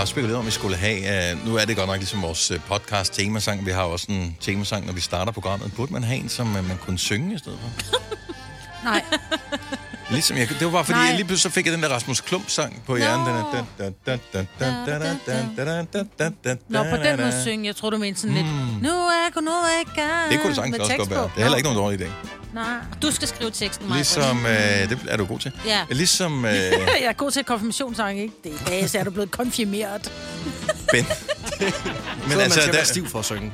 også spekuleret om, vi skulle have... Uh, nu er det godt nok ligesom vores øh, podcast temasang. Vi har også en temasang, når vi starter programmet. Burde man have en, som øh, man kunne synge i stedet for? Nej. Ligesom jeg, det var bare fordi, Nej. jeg lige pludselig så fik jeg den der Rasmus Klump-sang på hjernen. Den er, da, da, da, da, da, da, da, da, da, da, da, da, Nå, på da, den måde da. synge. Jeg tror, du mente sådan lidt... Nu er kun noget i gang. Det kunne det sagtens med også tekst godt være. på. Det er heller ikke nogen dårlig idé. Nej. Du skal skrive teksten, Maja. Ligesom, øh, det er du god til. Ja. Ligesom øh, Jeg er god til konfirmationssange, ikke? Det er i dag, så er du blevet konfirmeret. Men Ben. altså, man skal der- være stiv for at synge.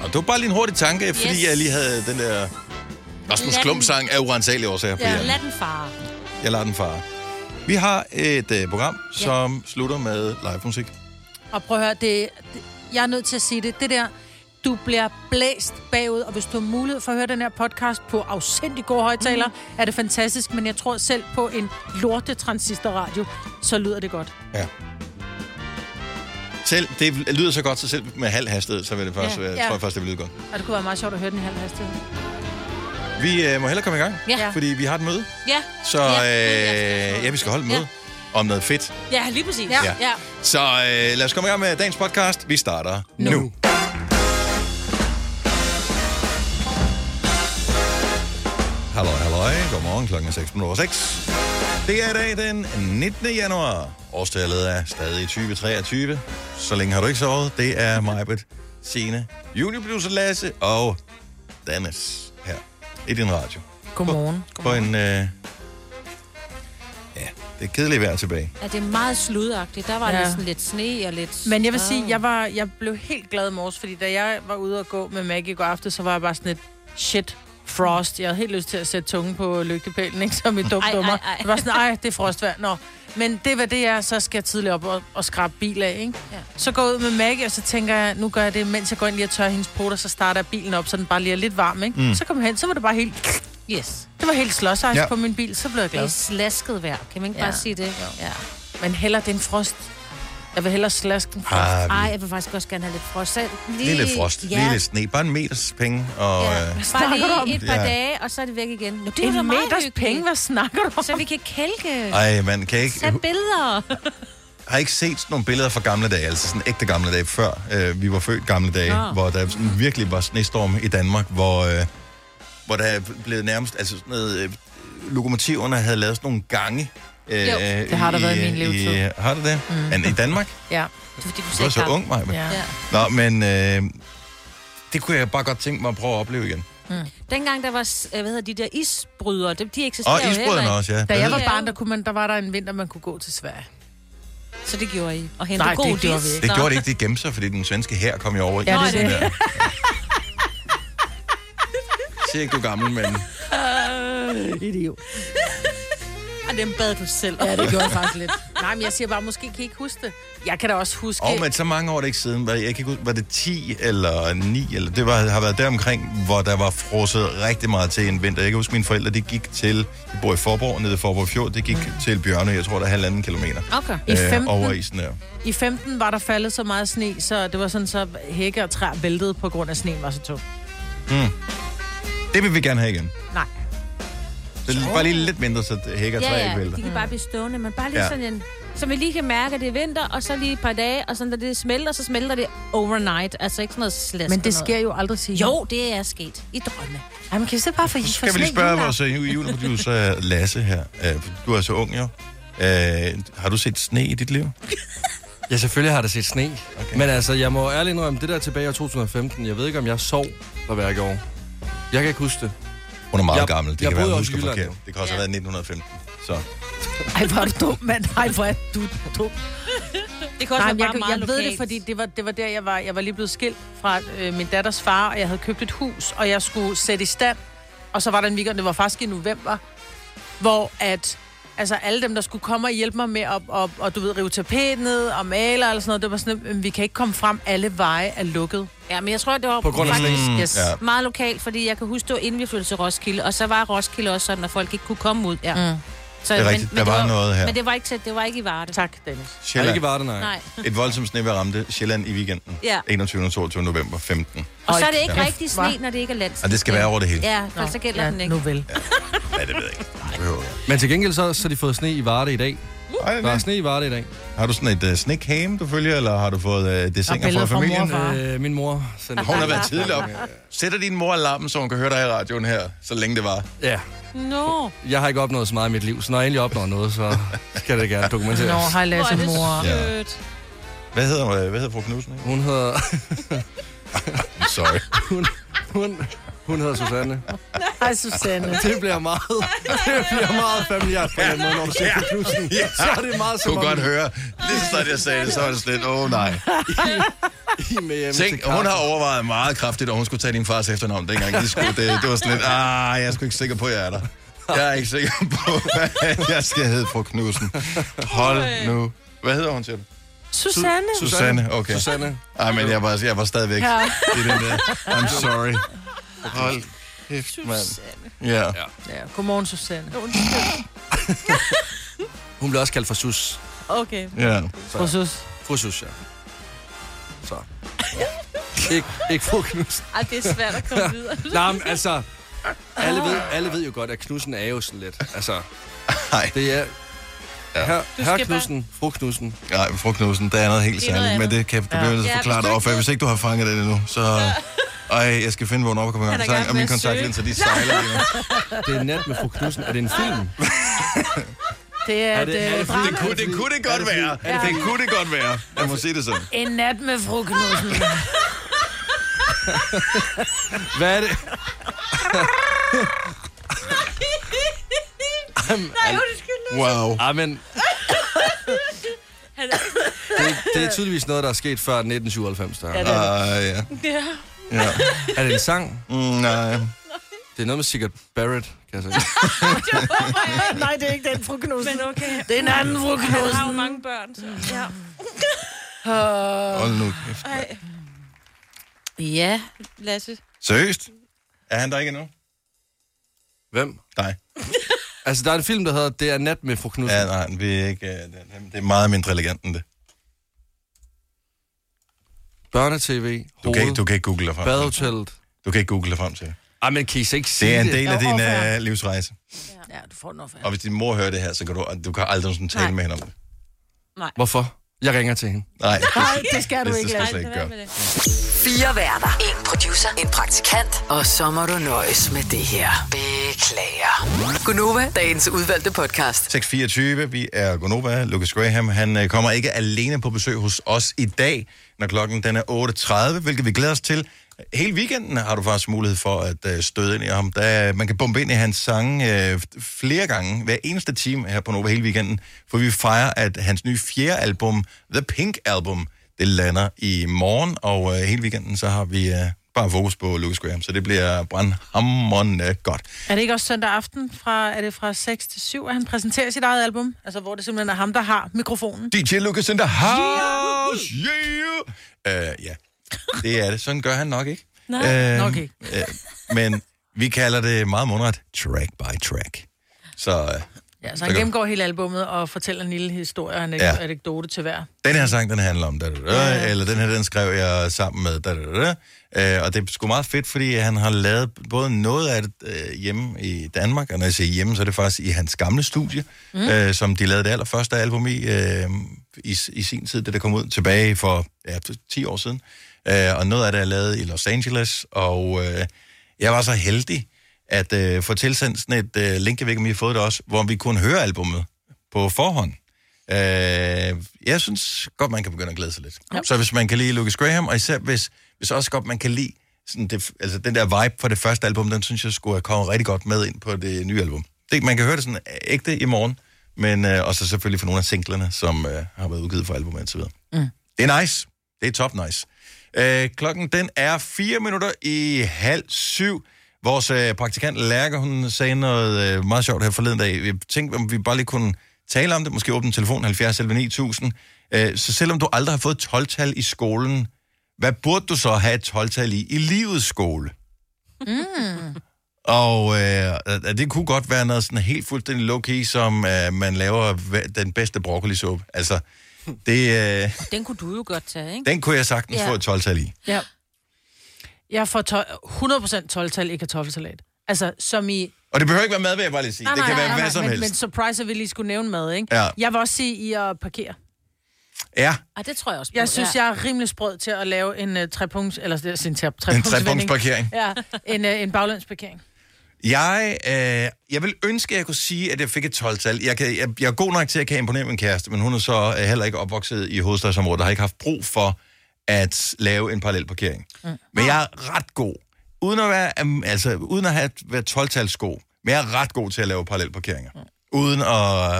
Og det var bare lige en hurtig tanke, fordi Yes. jeg lige havde den der... Rasmus Lad den- Klump-sang af urensagelige årsager på Ja, hjernen. lad den fare. Jeg lader den fare. Vi har et øh, program, som slutter med live musik. Og prøv at høre, det, det, jeg er nødt til at sige det. Det der, du bliver blæst bagud, og hvis du har mulighed for at høre den her podcast på afsindig gode højtaler, mm. er det fantastisk, men jeg tror selv på en lorte transistorradio, så lyder det godt. Ja. Selv, det lyder så godt, så selv med halv hastighed, så vil det først, Ja. ja. jeg Ja. tror jeg først, det vil lyde godt. Og det kunne være meget sjovt at høre den i halv hastighed. Vi øh, må hellere komme i gang, Ja. fordi vi har et møde. Ja. Så Ja, øh, ja, vi skal holde et møde om noget fedt. Ja, lige præcis. Ja. Ja. ja. Så øh, lad os komme i gang med dagens podcast. Vi starter nu. nu. Hallo, hallo. Godmorgen klokken er 6.06. Det er i dag den 19. januar. Årstallet er stadig 2023. Så længe har du ikke sovet. Det er Majbet, Signe, juniorproducer Lasse og Dennis her i din radio. Mm, Godmorgen. På en... Øh, ja, det er kedeligt vejr tilbage. ja det er meget sludagtigt. Der var Ja. ja. sådan lidt sne og lidt... Men jeg vil sige, jeg, var, jeg blev helt glad i morges, fordi da jeg var ude og gå med Maggie i går aften, så var jeg bare sådan et shit frost. Jeg havde helt lyst til at sætte tungen på lygtepælen, ikke? Som i dum Ej, ej, dummer. ej. Det var sådan, ej, det er frostvær. Nå. Men det var det, jeg så skal jeg tidligt op og, og skrabe bil af, ikke? Ja. Ja. Så går jeg ud med Maggie, og så tænker jeg, nu gør jeg det, mens jeg går ind lige og tørrer hendes poter, så starter jeg bilen op, så den bare lige er lidt varm, ikke? Mm. Så kom jeg hen, så var det bare helt... Yes. Det var helt slåsejs ja. Ja. på min bil, så blev jeg Det er glad. slasket vejr. Kan man ikke Ja. ja. bare sige det? Ja. Men heller den frost. Jeg vil hellere slaske den frost. Har vi Ej, jeg vil faktisk også gerne have lidt frost. Så lige, Lille frost, ja. Ja. lille sne, bare en meters penge, og Ja. ja. øh, Bare snakker du om? lige et par Ja. dage, og så er det væk igen. Nå, det er da meget En meters hyggeligt. penge, hvad snakker du om? Så vi kan kælke. ej, man kan jeg ikke, Tag billeder. har I ikke set sådan nogle billeder fra gamle dage, altså sådan ægte gamle dage, før øh, vi var født gamle dage, Nå. hvor der sådan, virkelig var snestorm i Danmark, hvor, øh, hvor der blev nærmest, altså sådan noget, øh, lokomotiverne havde lavet sådan nogle gange. Øh, jo, det har der været i min levetid. har det det? Mm. Men i Danmark? Ja. Det er fordi, du Du var ser så ung, Maja. Ja. Ja. Ja. Nå, men øh, det kunne jeg bare godt tænke mig at prøve at opleve igen. Dengang der var, s- øh, hvad hedder de der isbrydere, dem, de eksisterer Og jo heller isbrøderne ikke. også, ja. Da Det jeg var Ja. barn, der, kunne man, der var der en vinter, man kunne gå til Sverige. Så det gjorde I. Og hente Nej, Nej, det god gjorde vi is. ikke. Det Nå. gjorde det ikke, det gemte sig, fordi den svenske her kom jo over Ja, ja, det i er det sådan der. Siger ikke, du er gammel, men... Idiot. Og dem bad du selv. Ja, det gjorde jeg faktisk lidt. Nej, men jeg siger bare, måske kan I ikke huske det. Jeg kan da også huske... Og men så mange år er det ikke siden, var, jeg kan ikke huske, var det 10 eller 9, eller det var, har været deromkring, hvor der var frosset rigtig meget til en vinter. Jeg kan huske, mine forældre, de gik til, de bor i Forborg, nede i Forborg Fjord, de gik til Bjørne, jeg tror, der er halvanden kilometer. øh, Okay. I 15? over isen der. I 15 var der faldet så meget sne, så det var sådan, så hække og træer væltede på grund af sneen var så tung. Hmm. Det vil vi gerne have igen. Nej. Det er bare lige lidt mindre, så det hækker ja, træ Ja, ikke ja, vælter. de kan bare blive stående, men bare lige Ja. ja. sådan en... Så vi lige kan mærke, at det er vinter, og så lige et par dage, og så når det smelter, så smelter det overnight. Altså ikke sådan noget slask. Men det og sker jo aldrig, siger noget. Jo, det er sket. I drømme. Ej, man kan så bare få Så skal vi lige spørge vores øh, juleproducer Lasse her. Øh, Du er så ung, jo. Øh, har du set sne i dit liv? Ja, selvfølgelig har der set sne. Okay. Men altså, jeg må ærligt indrømme, det der tilbage i år 2015, jeg ved ikke, om jeg sov der hver år. Jeg kan ikke huske det. Hun er meget Jeg- gammel. Det jeg kan være, boede hun også i husker Jylland, forkert. jo. Det kan også have været 1915. Så. Ej, hvor er du dum, mand. Ej, hvor er du dum. Det kan Nej, men jeg, kan- jeg ved det, fordi det var, det var der, jeg var, jeg var lige blevet skilt fra øh, min datters far, og jeg havde købt et hus, og jeg skulle sætte i stand. Og så var der en weekend, det var faktisk i november, hvor at, altså alle dem, der skulle komme og hjælpe mig med at, og, og du ved, rive tapet ned og male og sådan noget, det var sådan, øh, vi kan ikke komme frem, alle veje er lukket. Ja, men jeg tror, det var På grund af faktisk sne. Yes. Ja. Ja. meget lokalt, fordi jeg kan huske, det var inden vi flyttede til Roskilde, og så var Roskilde også sådan, at folk ikke kunne komme ud. Ja. Mm. Så, Det er rigtigt. Der var noget her. Men det var ikke, tæt- det var ikke i Varde. Tak, Dennis. Jeg har Sjælland. ikke været det, nej. Nej. Et voldsomt snevær ramte Sjælland i weekenden. Ja. 21. og 22. november 15. Og Hold så er det ikke kæft, rigtig hva'? sne, når det ikke er lands. Og det skal være over det hele. Ja, for så gælder den ikke. Nu vel. Ja, det ved jeg ikke. Det behøver jeg. Men til gengæld så, så har de fået sne i Varde i dag. Ej, Der er nej. sne i Varde i dag. Har du sådan et uh, snekame, du følger, eller har du fået uh, dessinger billeder fra fra mor og familien? far. Øh, min mor sendte... Hun har været tidlig op. Sætter din mor alarmen, så hun kan høre dig i radioen her, så længe det var. Ja. Nå. Jeg har ikke opnået så meget i mit liv, så når jeg endelig opnår noget, så skal det gerne dokumenteres. Nå, hej Hvor er Lasse, det mor. sødt. Hvad hedder, øh, hvad hedder fru Knudsen? ikke? Hun hedder... Sorry. Hun, hun, hun hedder Susanne. Hej Susanne. Det bliver meget, det bliver meget familiært på den måde, når du siger ja. Knudsen. Ja. Så er det meget Du som kunne godt om, høre, lige så snart jeg sagde det, så var det slet, åh oh, nej. I er med hjemme til Tænk, hun kaffe. har overvejet meget kraftigt, om hun skulle tage din fars efternavn dengang. De skulle, det, det var sådan lidt, ah, jeg er sgu ikke sikker på, at jeg er der. Jeg er ikke sikker på, at jeg skal hedde fru Knudsen. Hold nu. Hvad hedder hun, siger du? Susanne. Susanne, okay. Susanne. Ej, men jeg var, jeg var stadigvæk Ja. i den der. I'm sorry. Hold kæft, mand. Ja. Ja, godmorgen Susanne. Hun bliver også kaldt for Sus. Okay. ja. Fru Sus. Fru Sus, ja. Så. Ikke, ikke fru Knudsen. Ej, det er svært at komme videre. Nej, men altså... Alle ved, alle ved jo godt, at Knudsen er jo sådan lidt. Altså, Nej, det er... Ja. Her, her skal Knudsen, fru Knudsen. nej, fru Knudsen, der er noget helt Det er noget særligt, men andet. det kan du bliver nødt til at Ja, forklare hvis dig du over, for ikke hvis ikke du har fanget det endnu, så... Ej, jeg skal finde, hvor hun op og komme i Han gang. er i Så gang er med min at kontaktlinser, de sejler lige nu. Det er nat med fru Knudsen. Er det en film? Det er, Er et, det- er det øh, fordi- Det kunne det, kunne det godt være. Det kunne det godt være. Jeg må sige det sådan. En nat med fru Knudsen. Hvad er det? Nej, undskyld. Wow. Ej, Ah, men... Det, det er tydeligvis noget, der er sket før 1997. Der. Ja, det er det. Uh, ja. Ja. ja. Er det en sang? Mm, nej. Det er noget med Sigurd Barrett, kan jeg sige. Nej, det er ikke den fru Knudsen. Men okay. Det er en anden fru Han har Knudsen. jo mange børn, så. Ja. Hold nu kæft. mand. Ja, Lasse. Seriøst? Er han der ikke endnu? Hvem? Nej. Altså, der er en film, der hedder Det er nat med fru Knudsen. Ja, Ja. nej, vi er ikke, øh, det- det er meget mindre elegant end det. Børnetv, Du kan, ikke- hoved, du kan ikke google dig frem til. badehotellet. Du kan ikke google dig frem til. Ej, men kan I så ikke sige Det er en det? del af Jo, din overfor. uh, livsrejse. Ja, du får den offer. Og hvis din mor hører det her, så kan du, du kan aldrig sådan tale Nej. med hende om det. Hvorfor? Jeg ringer til hende. Nej, Nej, det skal du det, det ikke, skal du Lasse. slet ikke gøre. det. Fire værter. En producer. En praktikant. Og så må du nøjes med det her. Beklager. Gunova, dagens udvalgte podcast. 6.24, vi er Gonova, Lucas Graham, han øh, kommer ikke alene på besøg hos os i dag, når klokken den er 8.30, hvilket vi glæder os til. Hele weekenden har du faktisk mulighed for at øh, støde ind i ham. Der, man kan bombe ind i hans sange øh, flere gange, hver eneste time her på Nova hele weekenden, for vi fejrer, at hans nye fjerde album, The Pink Album, det lander i morgen, og øh, hele weekenden så har vi øh, bare fokus på Lucas Graham, så det bliver brandhammerende godt. Er det ikke også søndag aften, fra, er det fra 6 til 7, at han præsenterer sit eget album? Altså, hvor det simpelthen er ham, der har mikrofonen. DJ Lucas in the house! Yeah! Uh, ja, det er det. Sådan gør han nok ikke. Nej, nok ikke. Uh, men vi kalder det meget mundret track by track. Så uh, Ja, så han Okay. gennemgår hele albummet og fortæller en lille historie og en Ja. ja. anekdote til hver. den her sang, den handler om da, da, da, eller den her, den skrev jeg sammen med da, da, da, da. Uh, og det er sgu meget fedt, fordi han har lavet både noget af det uh, hjemme i Danmark, og når jeg siger hjemme, så er det faktisk i hans gamle studie, mm. uh, som de lavede det allerførste album i, uh, i, i sin tid, det der kom ud tilbage for ja, 10 år siden. Øh, og noget af det er lavet i Los Angeles, og øh, jeg var så heldig at øh, få tilsendt sådan et øh, link, jeg ved ikke, om I har fået det også, hvor vi kunne høre albummet på forhånd. Øh, jeg synes godt, man kan begynde at glæde sig lidt. Ja. Så hvis man kan lide Lucas Graham, og især hvis, hvis også godt man kan lide sådan det, altså den der vibe fra det første album, den synes jeg skulle have kommet rigtig godt med ind på det nye album. Det, man kan høre det sådan ægte i morgen, men øh, også selvfølgelig for nogle af singlerne, som øh, har været udgivet for albumet og så videre. Det er nice. Det er top nice. Øh, klokken den er 4 minutter i halv syv. Vores øh, praktikant Lærke, hun sagde noget øh, meget sjovt her forleden dag. Jeg tænkte, om vi bare lige kunne tale om det. Måske åbne telefonen 70 11 9000. Øh, så selvom du aldrig har fået 12-tal i skolen, hvad burde du så have et 12-tal i i livets skole? Mm. Og øh, øh, det kunne godt være noget sådan helt fuldstændig low-key, som øh, man laver hver- den bedste broccolisuppe. Altså, det... Øh, Den kunne du jo godt tage, ikke? den kunne jeg sagtens ja. Ja. få et 12-tal i. Ja. Jeg får to- 100% 12-tal i kartoffelsalat. Altså, som i Og det behøver ikke være mad, vil jeg bare lige sige. det kan være hvad som men, helst. Men surprise, at vi lige skulle nævne mad, ikke? Ja. Jeg vil også sige, I at parkere. Ja, Ah, det tror jeg også på. Jeg synes, jeg er rimelig sprød til at lave en uh, trepunkts... Eller det er sin tre, trepunktsvending. trepunktsparkering. Ja, en, uh, en baglandsparkering. jeg, øh, jeg vil ønske, at jeg kunne sige, at jeg fik et 12-tal. Jeg, kan, jeg, jeg er god nok til, at jeg kan imponere min kæreste, men hun er så øh, heller ikke opvokset i hovedstadsområdet, og har ikke haft brug for at lave en parallel parkering. Mm. Men jeg er ret god. Uden at, være, øhm, altså, uden at have været 12-tals god, men jeg er ret god til at lave parallel parkeringer. Mm. Uden at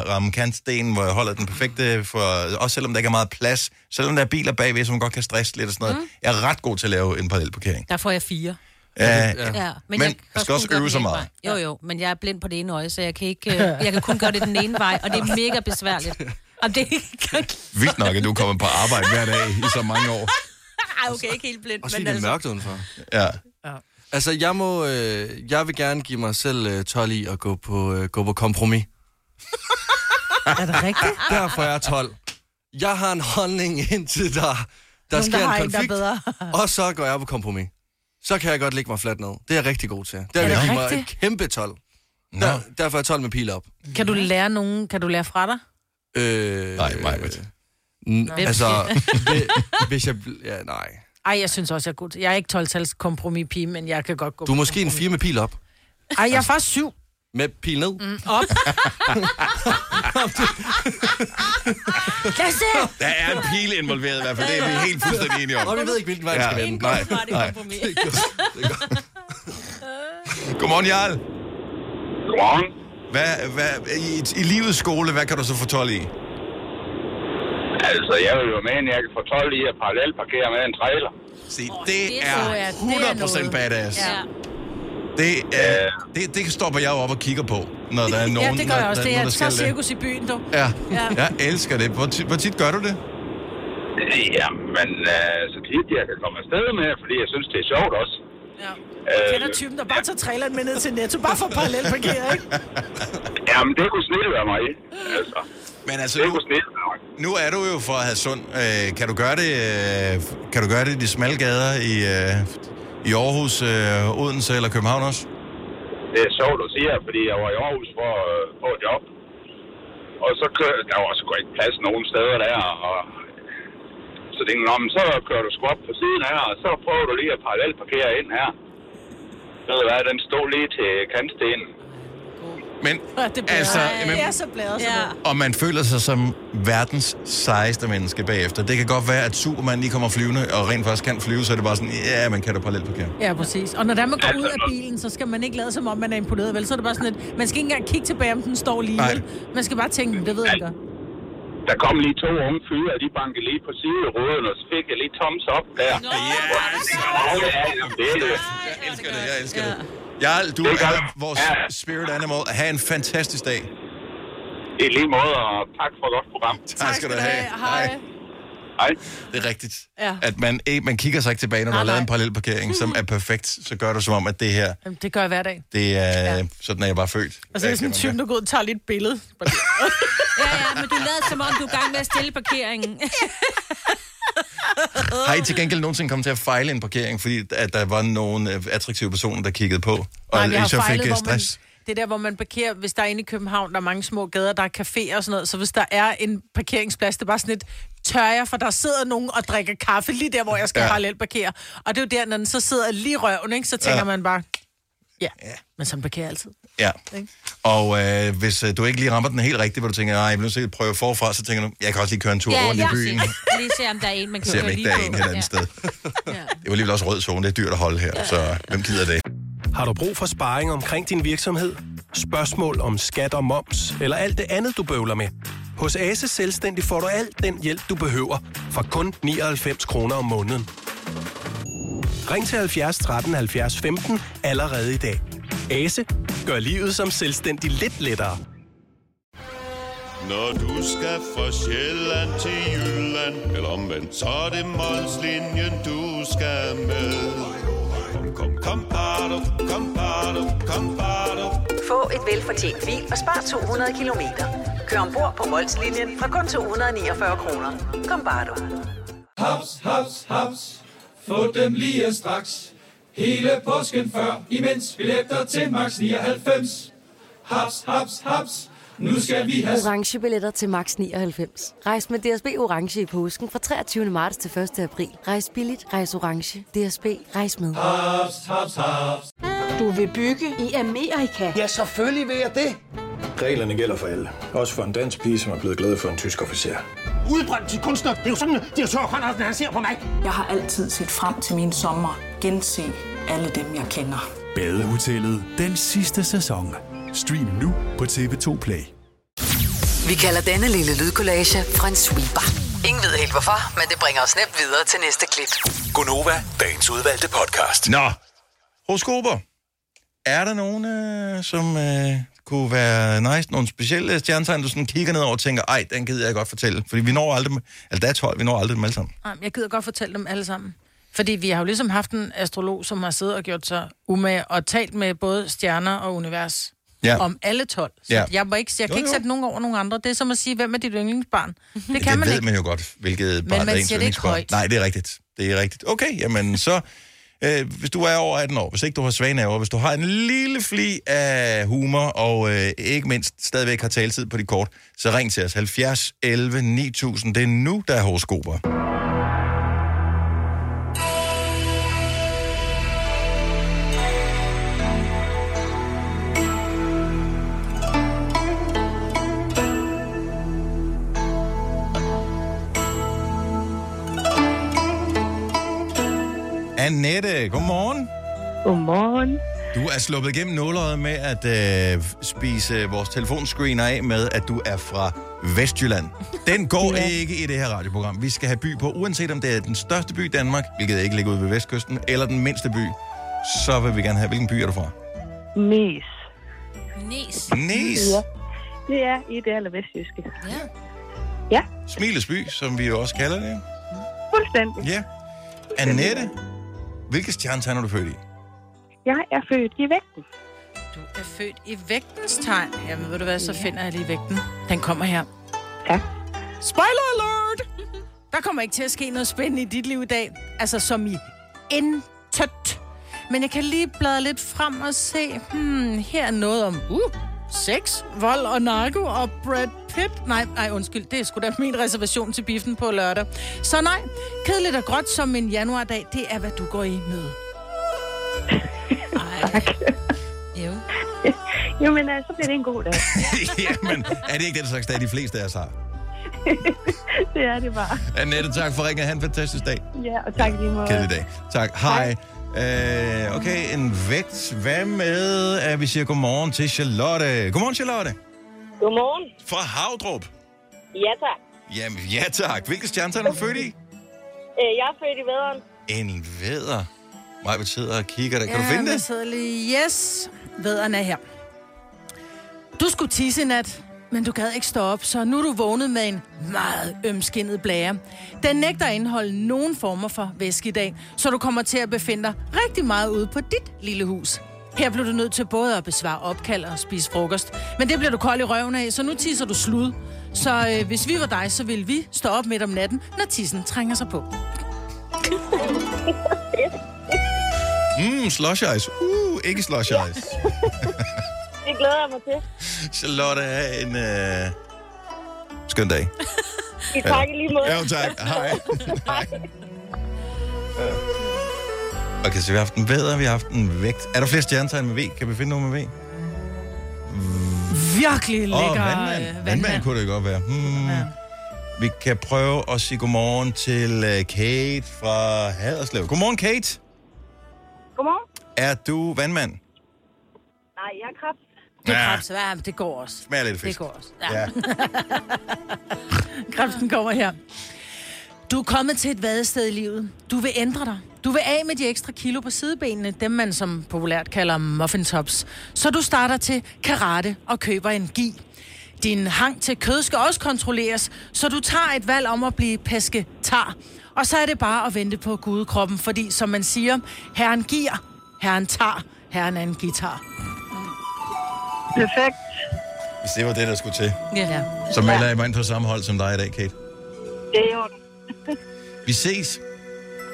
ramme kantstenen, hvor jeg holder den perfekte, for, også selvom der ikke er meget plads, selvom der er biler bagved, som godt kan stresse lidt og sådan noget. Mm. Jeg er ret god til at lave en parallel parkering. Der får jeg fire. Ja, Ja, jeg Men kan man skal også kun gøre øve den sig ene meget. Vej. Jo, jo, men jeg er blind på det ene øje, så jeg kan, ikke, øh, jeg kan kun gøre det den ene vej, og det er mega besværligt. Og det er ikke... Vildt nok, at du kommer på arbejde hver dag i så mange år. Ej, okay, ikke helt blind, Og så men det er altså... mørkt udenfor. Ja. Altså, jeg, må, øh, jeg vil gerne give mig selv øh, 12 i at gå på, øh, gå på kompromis. Er det rigtigt? Derfor er jeg 12. Jeg har en holdning indtil der, der Nogen, sker der har en en, der er konflikt, bedre. og så går jeg på kompromis. Så kan jeg godt lægge mig fladt ned. Det er jeg rigtig god til. Der vil det jeg give mig et rigtigt? kæmpe 12. Der, derfor er jeg 12 med pil op. Kan du lære nogen... Kan du lære fra dig? Øh, Nej, Majbrit. n- Hvem altså, hvi- hvis jeg... bl- Ja, nej. Ej, jeg synes også, jeg er god. til- Jeg er ikke 12-tals kompromis-pige, men jeg kan godt gå Du er på måske en kompromis. 4 med pil op. Ej, jeg er faktisk syv. Med pil ned. Mm. Op. Lad os se. Der er en pil involveret i hvert fald, det er vi helt fuldstændig enige om. Og vi ved ikke, hvilken vej vi skal Ja, vende. nej, nej. Godmorgen, Jarl. Godmorgen. Hvad, hvad, i, I livets skole, hvad kan du så få 12 i? Altså, jeg vil jo mene, at jeg kan få 12 i at parallelparkere med en trailer. Se, det det er tror jeg, det er 100% noget. badass. Ja. Det, er, det, det stopper jeg jo op og kigger på, når der er nogen, Ja, det gør jeg også. når, Det når er der så skal cirkus i byen, du. Ja, Ja. jeg elsker det. Hvor tit, hvor tit gør du det? Jamen, øh, så tit jeg kan komme afsted med, fordi jeg synes, det er sjovt også. Ja. Øh, Kender typen, der bare tager traileren med ned til Netto, bare for parallelt parkere, ikke? Jamen, det kunne snille være mig. Altså, Men altså, det nu, kunne snille være mig. nu er du jo fra Hadsund. Øh, kan, du gøre det, øh, kan du gøre det i de smalle gader i, øh, i Aarhus, øh, Odense eller København også? Det er sjovt, du siger, fordi jeg var i Aarhus for at få et job. Og så kører, der var sgu ikke plads nogen steder der, og så tænkte jeg, "Nå, men så kører du sgu op på siden her, og så prøver du lige at parallelparkere ind her. Ved du hvad, den stod lige til kantstenen. Men Ja, det er altså, men, Jeg er så bladet, Ja. ja. og man føler sig som verdens sejeste menneske bagefter. Det kan godt være, at Superman lige kommer flyvende, og rent faktisk kan flyve, så er det bare sådan, ja, man kan da parallelt parkere. Ja, præcis. Og når der man går ud af bilen, så skal man ikke lade som om, man er imponeret, vel? Så er det bare sådan, at man skal ikke engang kigge tilbage, om den står lige. Nej. vel? Man skal bare tænke, "Hm, det ved jeg godt. Der kom lige to unge fyre, og de bankede lige på sideruden, og så fik jeg lige thumbs up der. Nå, hvor er det Åh, ja, jamen, det er det. Jeg elsker det, jeg elsker det. Jarl, du Det gør er jeg. vores Ja. spirit animal. Ha' en fantastisk dag. I lige måde, og tak for et godt program. Tak skal du have. Hej. Hej. Det er rigtigt. Ja. At man, eh, man kigger sig ikke tilbage, når du har Nej, lavet nej. en parallel parkering, som er perfekt, så gør du som om, at det her, Jamen, Det gør jeg hver dag. det er, sådan er jeg bare født. Og så er det sådan en type, der går ud og tager lidt billede. ja, ja, men du lader som om, du er i gang med at stille parkeringen. Har I til gengæld nogensinde kommet til at fejle en parkering, fordi at der var nogle øh, attraktive personer, der kiggede på, og Nej, men jeg I har så fik fejlet, øh, hvor man, stress? det er der, hvor man parkerer, hvis der er inde i København, der er mange små gader, der er caféer og sådan noget, så hvis der er en parkeringsplads, det er bare sådan et, tør jeg, for der sidder nogen og drikker kaffe lige der, hvor jeg skal Ja. ja. parallelt parkere. Og det er jo der, når den så sidder lige i røven, ikke, så tænker Ja. ja. man bare, ja, men sådan parkerer jeg altid. Ja. Ikke? Og øh, hvis øh, du ikke lige rammer den helt rigtigt, hvor du tænker, nej, jeg vil nu sikkert prøve forfra, så tænker du, jeg kan også lige køre en tur rundt i byen. Lige se, om der er en, man kan Se om køre ikke lige der er på. en et andet sted. Det var alligevel også rød zone, det er dyrt at holde her, så hvem gider det? Har du brug for sparring omkring din virksomhed? Spørgsmål om skat og moms, eller alt det andet, du bøvler med? Hos Ase Selvstændig får du alt den hjælp, du behøver, for kun 99 kroner om måneden. Ring til 70 13 70 15 allerede i dag. Ase gør livet som selvstændig lidt lettere. Når du skal fra Sjælland til Jylland Eller omvendt, så er det Molslinjen, du skal med Kom, kom, kom, bado, kom, bado, kom, bado. Få et velfortjent bil og spar 200 kilometer. Kør ombord på Molslinjen fra kun 249 kroner. Kom bare du. Haps, haps, haps. Få dem lige straks. Hele påsken før, imens billetter til max 99. Haps, haps, haps. Nu skal vi have... Orange billetter til max 99. Rejs med DSB Orange i påsken fra 23. marts til 1. april. Rejs billigt, rejs orange. DSB, rejs med. Haps, haps, haps. Du vil bygge i Amerika? Ja, selvfølgelig vil jeg det. Reglerne gælder for alle. Også for en dansk pige, som er blevet glad for en tysk officer. Udbrøndt til kunstner. Det er jo sådan, at de har tørt, han ser på mig. Jeg har altid set frem til min sommer. Gense alle dem, jeg kender. Badehotellet den sidste sæson. Stream nu på TV2 Play. Vi kalder denne lille lydkollage en sweeper. Ingen ved helt hvorfor, men det bringer os nemt videre til næste klip. Gunova, dagens udvalgte podcast. Nå, horoskoper. Er der nogen, øh, som øh, kunne være nice? Nogle specielle stjernetegn, du sådan kigger ned over og tænker, ej, den gider jeg godt fortælle. Fordi vi når aldrig, dem- altså der er 12, vi når aldrig dem alle sammen. Ej, men Jeg gider godt fortælle dem alle sammen. Fordi vi har jo ligesom haft en astrolog, som har siddet og gjort sig umage og talt med både stjerner og univers Ja. ja. om alle 12. Så Ja. ja. jeg, må ikke, jeg kan Jo, jo, ikke jo. sætte nogen over nogen andre. Det er som at sige, hvem er dit yndlingsbarn? Det kan det man ved ikke. man jo godt, hvilket Men barn man der er ens siger det ikke yndlingsbarn. højt. Nej, det er rigtigt. Det er rigtigt. Okay, jamen så... Øh, hvis du er over 18 år, hvis ikke du har svaneaver, hvis du har en lille fli af humor, og øh, ikke mindst stadigvæk har taletid på dit kort, så ring til os 70 11 9000. Det er nu, der er horoskoper. Annette, godmorgen. Godmorgen. Du er sluppet igennem nåløjet med at øh, spise vores telefonscreener af med, at du er fra Vestjylland. Den går ja. ikke i det her radioprogram. Vi skal have by på, uanset om det er den største by i Danmark, hvilket ikke ligger ude ved Vestkysten, eller den mindste by, så vil vi gerne have, hvilken by er du fra? Næs. Næs. Næs? Ja. Det er i det allervestjyske. Ja. Smilesby, som vi jo også kalder det. Fuldstændig. Ja. Annette, hvilke stjernetegn er du født i? Jeg er født i vægten. Du er født i vægtens tegn. Jamen, ved du hvad, så finder jeg lige vægten. Den kommer her. Tak. Spoiler alert! Der kommer ikke til at ske noget spændende i dit liv i dag. Altså, som i intet. Men jeg kan lige bladre lidt frem og se, hmm, her er noget om, uh, sex, vold og narko og Brad Pitt. Nej, nej, undskyld, det er sgu da min reservation til biffen på lørdag. Så nej, kedeligt og gråt som en januardag, det er, hvad du går i møde. Jo. Jamen, øh, så bliver det en god dag. Jamen, er det ikke den slags dag, de fleste af os har? det er det bare. Annette, tak for ringen. Ha' en fantastisk dag. Ja, og tak lige måde. Kedelig dag. Tak. Hej. Øh, okay, en vægt. Hvad med, at vi siger godmorgen til Charlotte? Godmorgen, Charlotte. Godmorgen. Fra Havdrup. Ja, tak. Jamen, ja tak. Hvilke stjernetegn er du født i? Øh, Jeg er født i vædderen. En væder. Mig vil sidde og kigger der. Kan du finde men det? sidder lige. Yes, vederne er her. Du skulle tisse i nat, men du gad ikke stå op, så nu er du vågnet med en meget ømskindet blære. Den nægter at indeholde nogen former for væske i dag, så du kommer til at befinde dig rigtig meget ude på dit lille hus. Her bliver du nødt til både at besvare opkald og spise frokost. Men det bliver du kold i røven af, så nu tisser du slud. Så øh, hvis vi var dig, så ville vi stå op midt om natten, når tissen trænger sig på. Mm, slush ice. Uh, ikke slush ice. Det glæder jeg mig til. Charlotte, have en øh... skøn dag. I tak i lige måde. Ja, jo, tak. Hej. Hej. Okay, så vi har haft en væder, vi har haft en vægt. Er der flere stjernetegn med V? Kan vi finde nogen med V? Virkelig Åh, lækker vandmand. vandmand. vandmand kunne det godt være. Hmm. Ja. Vi kan prøve at sige godmorgen til øh, Kate fra Haderslev. Godmorgen, Kate. Godmorgen. Er du vandmand? Nej, jeg er krebs. Det er Ja. krebs. Ja, men det går også. Smager lidt af Det fisk. går også. Ja. ja. Krebsen kommer her. Du er kommet til et vadested i livet. Du vil ændre dig. Du vil af med de ekstra kilo på sidebenene, dem man som populært kalder muffintops. Så du starter til karate og køber en gi. Din hang til kød skal også kontrolleres, så du tager et valg om at blive pesketar. Og så er det bare at vente på gudekroppen, fordi som man siger, herren giver, herren tager, herren er en guitar. Perfekt. Hvis det var det, der skulle til. Ja. Så melder jeg mig ind på samme hold som dig i dag, Kate. Det er i orden. Vi ses.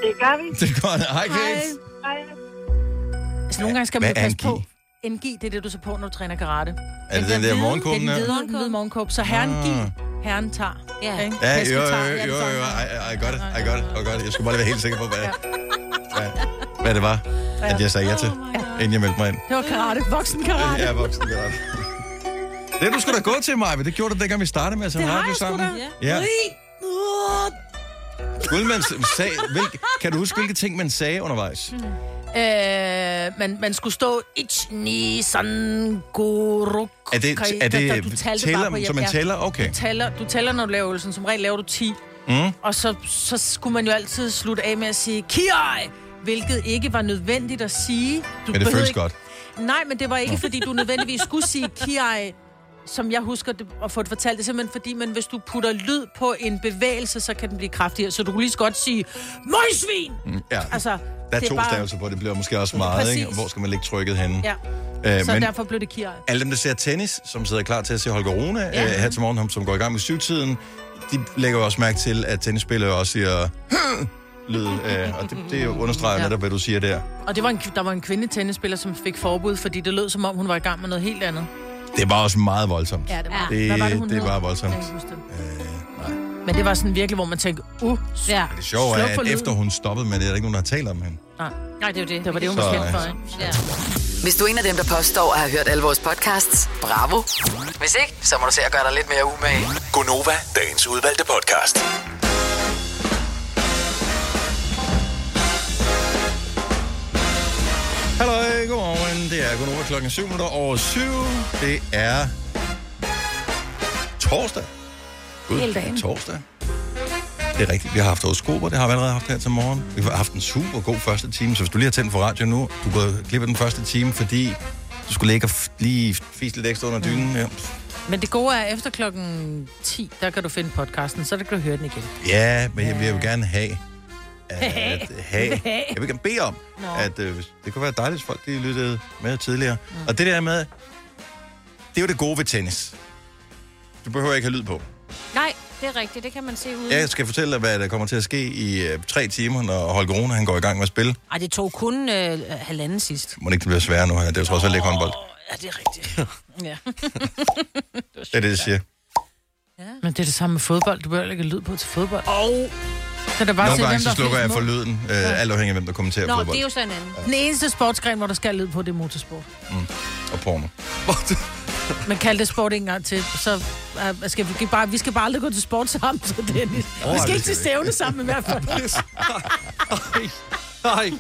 Det gør vi. Det er godt. Hej, Kate. Hej. Altså, nogle gange skal man Hvad jo er passe en gi? på. En gi, det er det, du så på, når du træner karate. Er det den der morgenkåben der? der? Den hvide- den hvide morgenkåb. Så herren Ah. gi, herren tager. Ja, ikke? Ja, Pesken jo, tager. jo, Ja, det jo, er sådan jo, her. I, I got it, I got it, I got it. Jeg skulle bare lige være helt sikker på, hvad, hvad, hvad det var, at jeg sagde ja Oh til, inden jeg meldte mig ind. Det var karate, voksen karate. Ja, voksen karate. Det er du skulle da gå til, Maja, det gjorde du dengang, vi startede med at sende Det har radio jeg sgu sammen. da. Ja. Uh, Skulle man s- sag, hvilke, kan du huske, hvilke ting man sagde undervejs? Øh, man, man skulle stå ich ni san goruk. Er det- kai- er det- da- da- du talte tæller- bare på- så man tæller? Okay. Du tæller, du tæller, når du laver øvelsen. Som regel laver du 10. Mm. Og så, så skulle man jo altid slutte af med at sige kiai, hvilket ikke var nødvendigt at sige. Du Men det behøvede føles ikke- godt. Nej, men det var ikke, Nå. fordi du nødvendigvis skulle sige kiai, som jeg husker det, at få det fortalt. Det er simpelthen fordi, men hvis du putter lyd på en bevægelse, så kan den blive kraftigere. Så du kunne lige så godt sige, møgsvin! Mm, Ja. Altså, Der er det to bare- stavelser på, det bliver måske også meget, ikke? Præcis. Hvor skal man lægge trykket henne? Ja. Øh, så men- derfor blev det kiai. Alle dem, der ser tennis, som sidder klar til at se Holger Rune Ja. ja. øh, her til morgen, ham, som går i gang med syvtiden, de lægger jo også mærke til, at tennisspillere også siger "Hm!" lyd, øh, og det, det understreger Ja. ja. netop, hvad du siger der. Og det var en, der var en kvindetennisspiller, som fik forbud, fordi det lød, som om hun var i gang med noget helt andet. Det var også meget voldsomt. Ja, det var det. Hvad det. var det, hun det, det hed? var voldsomt. Øh, Jeg kan ikke huske det. Men det var sådan virkelig, hvor man tænkte, uh, ja. Det sjove er, at efter hun stoppede med det, er der ikke nogen, der har talt om hende. Nej, Nej det er jo det. Det var det, hun Så, var kendt for, øh, ikke? Ja. Hvis du er en af dem, der påstår at have hørt alle vores podcasts, bravo. Hvis ikke, så må du se at gøre dig lidt mere umage. Gonova, dagens udvalgte podcast. Hallo, godmorgen. Det er kun over klokken 7 minutter over 7. Det er torsdag. Gud, Hele dagen. Torsdag. Det er rigtigt. Vi har haft horoskoper. Det har vi allerede haft her til morgen. Vi har haft en super god første time. Så hvis du lige har tændt for radioen nu, du går glip af den første time, fordi du skulle ligge og f- lige fise lidt ekstra under dynen. Ja, Men det gode er, at efter klokken 10, der kan du finde podcasten, så der kan du høre den igen. ja men jeg, jeg vil gerne have, Hey. at have. Jeg vil gerne bede om, at øh, hvis- det kunne være dejligt, hvis folk de lyttede med tidligere. Mm. Og det der med, det er jo det gode ved tennis. Du behøver ikke have lyd på. Nej, det er rigtigt. Det kan man se ude. Jeg skal fortælle dig, hvad der kommer til at ske i øh, tre timer, når Holger Rune han går i gang med at spille. Ej, det tog kun øh, halvanden sidst. Må det ikke blive sværere nu her? Det er jo trods alt ikke håndbold. Ja, det er rigtigt. ja. Det er det, jeg siger. Men det er det samme med fodbold. Du behøver heller ikke have lyd på til fodbold. Og... Så er det bare Nogle til, gange hvem, så der slukker flest jeg for mål. lyden, øh, alt afhængig af, hvem der kommenterer Nå, fodbold det er jo sådan en anden. Den eneste sportsgren, hvor der skal lyd på, det er motorsport. og porno. Man kalder det sport en gang til, så uh, skal vi, bare, vi skal bare aldrig gå til sport sammen, så Dennis. Åh, vi det skal ikke skal til vi stævne sammen i hvert fald. Nej.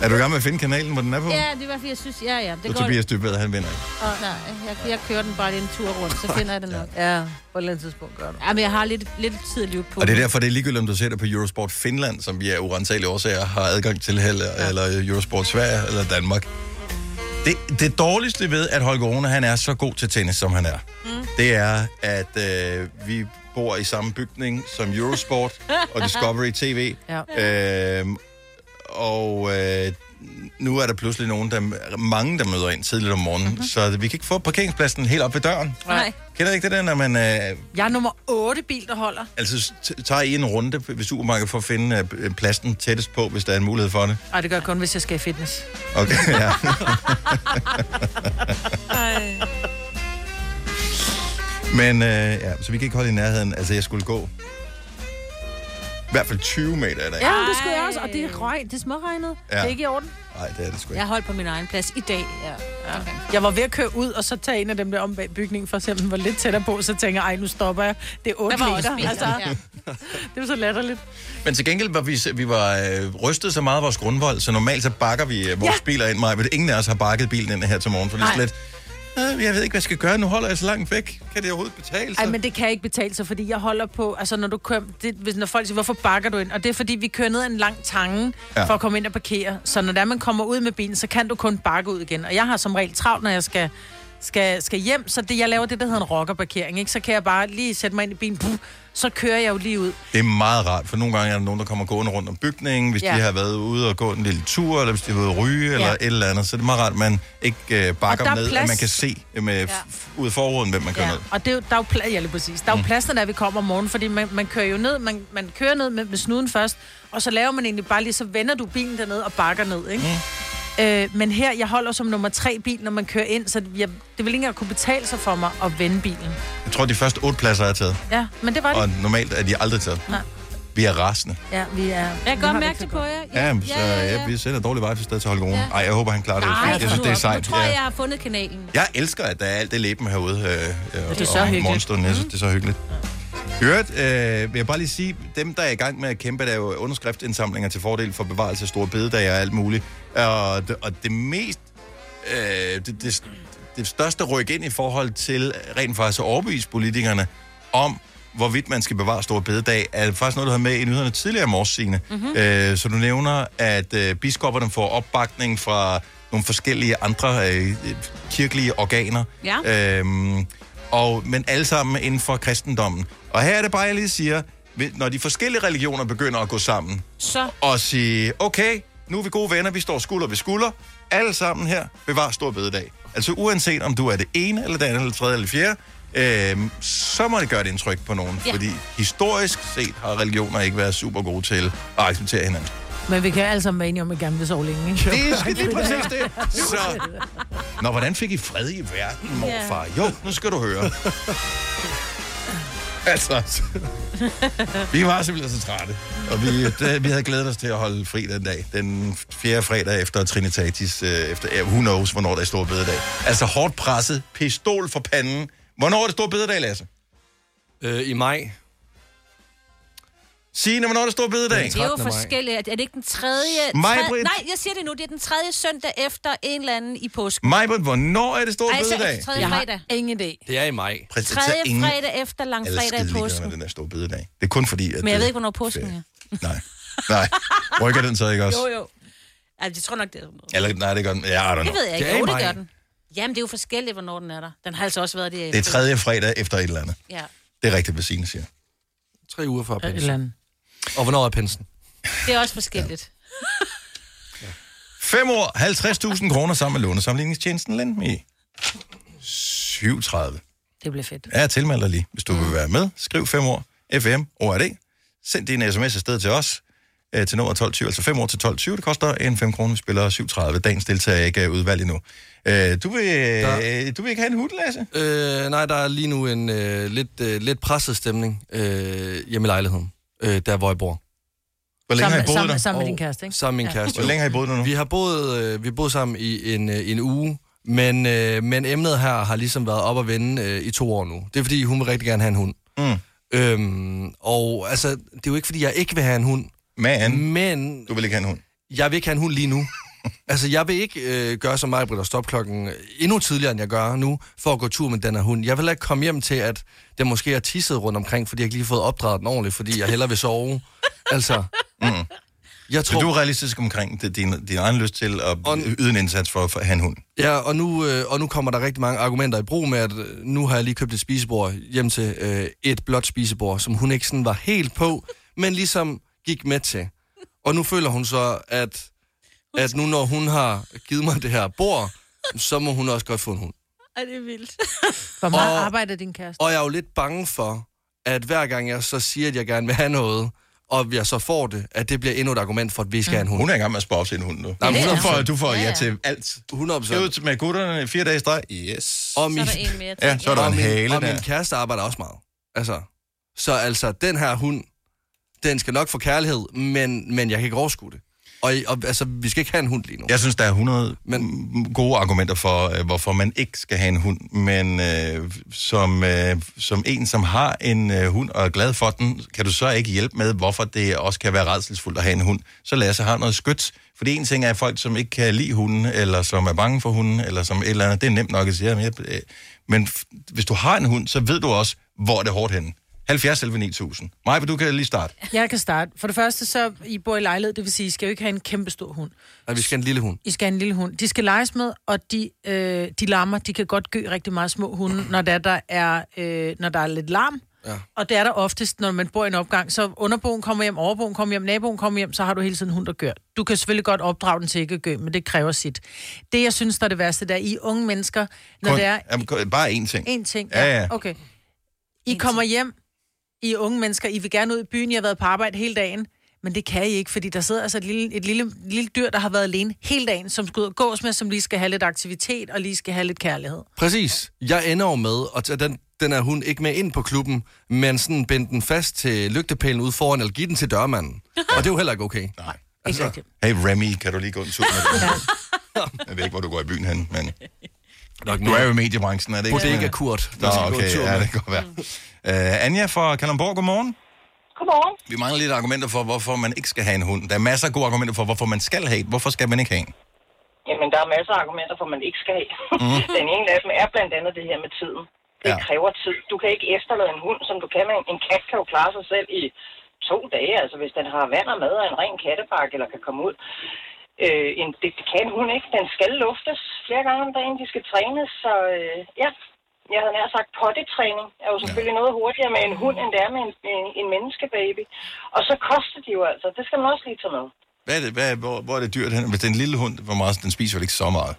Er du i gang med at finde kanalen, hvor den er på? ja, det var fordi, jeg synes... Ja, ja, Det det og går... Tobias Dybved, han vinder. Åh, nej, jeg, jeg kører den bare lige en tur rundt, så finder jeg det nok. Ja, på et eller andet tidspunkt gør du. Ja, men jeg har lidt, lidt tid at løbe på. Og det er derfor, det er ligegyldigt, om du ser det på Eurosport Finland, som vi af urensagelige årsager har adgang til, eller, ja. eller Eurosport Sverige, eller Danmark. Det, det dårligste ved, at Holger Rune han er så god til tennis, som han er, mm. det er, at øh, vi bor i samme bygning som Eurosport og Discovery TV. Ja. Øhm, og øh, nu er der pludselig nogen, der, mange, der møder ind tidligt om morgenen, mm-hmm. så vi kan ikke få parkeringspladsen helt op ved døren. Nej. Kender I ikke det der, når man øh, Jeg er nummer 8 bil, der holder. Altså, t- tager I en runde ved supermarkedet for at finde øh, øh, pladsen tættest på, hvis der er en mulighed for det? Nej, det gør jeg kun, hvis jeg skal i fitness. Okay, ja. Men øh, ja, så vi kan ikke holde i nærheden. Altså, jeg skulle gå i hvert fald 20 meter i dag. Ja, Ja, det skulle jeg også, og det er røg, det er småregnet. Ja. Ja. Det er ikke i orden. Nej, det er det sgu ikke. Jeg holdt på min egen plads i dag. Ja. ja. Jeg var ved at køre ud, og så tage en af dem der om bag bygningen, for eksempel, var lidt tættere på, så tænker jeg, ej, nu stopper jeg. Det er 8 Der var meter. også biler, altså, ja. Det var så latterligt. Men til gengæld var vi, s- vi var øh, rystet så meget af vores grundvold, så normalt så bakker vi øh, vores Ja. ja. biler ind, Maja, men ingen af os har bakket bilen ind her til morgen, for det er Nej. sådan lidt, øh, jeg ved ikke, hvad jeg skal gøre, nu holder jeg så langt væk. Kan det overhovedet betale sig? Ej, men det kan ikke betale sig, fordi jeg holder på... Altså, når du kører... Det, hvis, når folk siger, hvorfor bakker du ind? Og det er, fordi vi kører ned ad en lang tange ja. Ja. for at komme ind og parkere. Så når der man kommer ud med bilen, så kan du kun bakke ud igen. Og jeg har som regel travlt, når jeg skal skal, skal hjem, så det, jeg laver det, der hedder en rockerparkering, ikke? Så kan jeg bare lige sætte mig ind i bilen, puh, så kører jeg jo lige ud. Det er meget rart, for nogle gange er der nogen, der kommer gående rundt om bygningen, hvis ja. Ja. de har været ude og gå en lille tur, eller hvis de har været ude at ryge, ja. eller et eller andet. Så det er meget rart, at man ikke øh, der bakker er med, at plads. man kan se øh, med, ja. f- ud af forruden, hvem man kører ja. ned. og det, er jo- der er jo plads, ja, lige præcis. Der er jo plads, når det er, vi kommer om morgenen, fordi man, man kører jo ned, man, man kører ned med, med snuden først, og så laver man egentlig bare lige, så vender du bilen derned og bakker ned, ikke? Mm. Øh, men her, jeg holder som nummer tre bil, når man kører ind, så jeg, det vil ikke engang kunne betale sig for mig at vende bilen. Jeg tror, de første otte pladser er taget. Ja, men det var det. Og normalt er de aldrig taget. Nej. Vi er rasende. Ja, vi er... Jeg kan godt mærke det på jer. Ja, ja, så ja, ja. vi sender dårlig vej for sted til Holgerone. Ja. Ej, jeg håber, han klarer det. Nej, jeg synes, det er sejt. Nu tror jeg, ja. jeg har fundet kanalen. Jeg elsker, at der er alt det læben herude. Øh, øh, Det er så om hyggeligt. Mm. morgenstunden. Jeg synes, det er så hyggeligt. I Øvrigt, øh, vil jeg bare lige sige, dem, der er i gang med at kæmpe, der er jo underskriftindsamlinger til fordel for bevarelse af store bededage og alt muligt. Og det, og det mest, øh, det, det, det største ryk ind i forhold til rent faktisk at overbevise politikerne om, hvorvidt man skal bevare store bededag, er faktisk noget, du havde med i nyhederne tidligere i morges, Signe. Mm-hmm. Øh, så du nævner, at øh, biskopperne får opbakning fra nogle forskellige andre øh, kirkelige organer. Ja. Øhm, og, men alle sammen inden for kristendommen. Og her er det bare, jeg lige siger, ved- når de forskellige religioner begynder at gå sammen Så. og sige, okay, nu er vi gode venner, vi står skulder ved skulder, alle sammen her, bevar stor bededag. Altså uanset om du er det ene, eller det andet, eller det tredje, eller det fjerde, øhm, så må det gøre et indtryk på nogen. Ja. Ja. Fordi historisk set har religioner ikke været super gode til at acceptere hinanden. Men vi kan altså alle sammen være enige om, at vi gerne vil sove længe, ikke? Det er lige præcis det. Så- Nå, hvordan fik I fred i verden, morfar? Jo, nu skal du høre. altså, vi var simpelthen så trætte. Og vi, det, vi havde glædet os til at holde fri den dag. Den fjerde fredag efter Trinitatis, øh, efter, ja, who knows, hvornår der er stor bededag. Altså hårdt presset, pistol for panden. Hvornår er det stor bededag, Lasse? Øh, I maj. Signe, hvornår er det stor bededag? Det er jo forskellige. Er det ikke den tredje... Maj, tredje- Britt. Nej, jeg siger det nu. Det er den tredje søndag efter en eller anden i påsken. Majbert, hvornår er det stor Ej, så bededag? altså tredje fredag. Ingen idé. Det er i maj. Præcis, Tredje ingen fredag efter langfredag i skideliggørende, påsken. den der store bededag. Det er kun fordi, at... Men jeg ved øh, ikke, hvornår påsken er. Nej, rykker den så ikke også? Jo, jo. Altså, jeg tror nok, det er... Eller, nej, det gør den. Ja, I don't Det know. ved jeg ikke. Jo, det gør den. Jamen, det er jo forskelligt, hvornår den er der. Den har altså også været det. Det er tredje fredag efter et eller andet. Ja. Det er rigtigt, hvad Signe siger. Tre uger før et eller pensen. Og hvornår er pensen? Det er også forskelligt. 5 år, 50.000 kroner sammen med lånesamligningstjenesten Lendme. 37. Det bliver fedt. Ja, tilmeld dig lige, hvis du vil være med. Skriv 5 år, FM, ORD. Send din sms afsted til os øh, til nummer 1220, altså 5 år til 1220. Det koster en 5 kroner, vi spiller 37. Dagens deltager er ikke øh, udvalgt endnu. Øh, Du vil, øh, du vil ikke have en hund, Lasse? Øh, nej, der er lige nu en øh, lidt, øh, lidt presset stemning øh, hjemme i lejligheden, øh, der hvor jeg bor. Hvor længe Sammen- har I boet sammen- der? sammen med din kæreste, ikke? Sammen med min Ja. kæreste. Hvor længe har I boet der nu? Vi har boet, øh, vi har boet sammen i en, øh, en uge, men, øh, men emnet her har ligesom været op at vende øh, i to år nu. Det er fordi, hun vil rigtig gerne have en hund. Mm. Øhm, og altså, det er jo ikke fordi, jeg ikke vil have en hund. Men, men du vil ikke have en hund. Jeg vil ikke have en hund lige nu. altså, jeg vil ikke øh, gøre som mig, Britt, og stoppe klokken øh, endnu tidligere, end jeg gør nu, for at gå tur med den her hund. Jeg vil heller ikke komme hjem til, at den måske har tisset rundt omkring, fordi jeg ikke lige har fået opdraget den ordentligt, fordi jeg hellere vil sove. altså, Mm. Jeg tror... Så du er realistisk omkring det, din, din egen lyst til at yde en indsats for, for at have en hund? Ja, og nu, øh, og nu kommer der rigtig mange argumenter i brug med, at øh, nu har jeg lige købt et spisebord hjem til øh, et blåt spisebord, som hun ikke sådan var helt på, men ligesom gik med til. Og nu føler hun så, at, at nu når hun har givet mig det her bord, så må hun også godt få en hund. Ej, det er vildt. Hvor meget Og- arbejder din kæreste? Og jeg er jo lidt bange for, at hver gang jeg så siger, at jeg gerne vil have noget, og jeg så får det, at det bliver endnu et argument for, at vi skal have en hund. Hun er i gang med at spare op til en hund nu. Nej, men Ja, 100%. du får, du får ja, ja. ja til alt. 100 Skal ud med gutterne fire dage i streg? Yes. Og min, en mere Ja, så er der og en min- hale Og der. min kæreste arbejder også meget. Altså, så altså, den her hund, den skal nok få kærlighed, men, men jeg kan ikke overskue det. Og, og altså, vi skal ikke have en hund lige nu. Jeg synes, der er 100 men... gode argumenter for, øh, hvorfor man ikke skal have en hund. Men øh, som, øh, som en, som har en øh, hund og er glad for den, kan du så ikke hjælpe med, hvorfor det også kan være redselsfuldt at have en hund. Så lad os have noget skødt. For det ene ting er folk, som ikke kan lide hunden, eller som er bange for hunden, eller som et eller andet. Det er nemt nok at sige. "Jamen, jeg- øh." Men f- hvis du har en hund, så ved du også, hvor er det hårdt henne. 70 11 9000. Maja, du kan lige starte. Jeg kan starte. For det første, så I bor i lejlighed, det vil sige, I skal jo ikke have en kæmpe stor hund. Nej, vi skal have en lille hund. I skal have en lille hund. De skal leges med, og de, øh, de larmer. De kan godt gø rigtig meget små hunde, når der, der, er, øh, når der er lidt larm. Ja. Og det er der oftest, når man bor i en opgang. Så underboen kommer hjem, overboen kommer hjem, naboen kommer hjem, så har du hele tiden hund, der gør. Du kan selvfølgelig godt opdrage den til ikke at gø, men det kræver sit. Det, jeg synes, der er det værste, det er, I er unge mennesker, når Kun, det er jamen, kun- bare én ting. en ting. Ja, ja. Okay. I kommer hjem, I er unge mennesker, I vil gerne ud i byen, I har været på arbejde hele dagen, men det kan I ikke, fordi der sidder altså et lille, et lille, lille dyr, der har været alene hele dagen, som skal ud og gås med, som lige skal have lidt aktivitet og lige skal have lidt kærlighed. Præcis. Jeg ender jo med at tage den, den her hund ikke med ind på klubben, men sådan binde den fast til lygtepælen ude foran, eller give den til dørmanden. Og det er jo heller ikke okay. Nej. Altså, hey Remy, kan du lige gå en tur med det? Jeg ved ikke, hvor du går i byen hen, men... Du er jo i mediebranchen, er det ikke? Bodega Kurt, der Nå, skal gå en okay, tur ja, med. det kan godt være. Uh, Anja fra Kalamborg, godmorgen. Godmorgen. Vi mangler lidt argumenter for, hvorfor man ikke skal have en hund. Der er masser af gode argumenter for, hvorfor man skal have en. Hvorfor skal man ikke have en? Jamen, der er masser af argumenter for, at man ikke skal have. Mhm. Mm. Den ene af dem er blandt andet det her med tiden. Det ja. kræver tid. Du kan ikke efterlade en hund, som du kan med en- en kat, kan jo klare sig selv i to dage. Altså, hvis den har vand og mad og en ren kattebakke, eller kan komme ud. Øh, en, det, det kan en hund ikke. Den skal luftes flere gange om dagen. De skal trænes, så øh, ja. Jeg havde nær sagt, pottetræning er jo selvfølgelig ja. noget hurtigere med en hund, end det er med en, en, en menneskebaby. Og så koster de jo altså. Det skal man også lige tage med. Hvad er det, hvad, hvor, hvor er det dyrt hen? Hvis det er en lille hund, hvor meget, den spiser vel ikke så meget.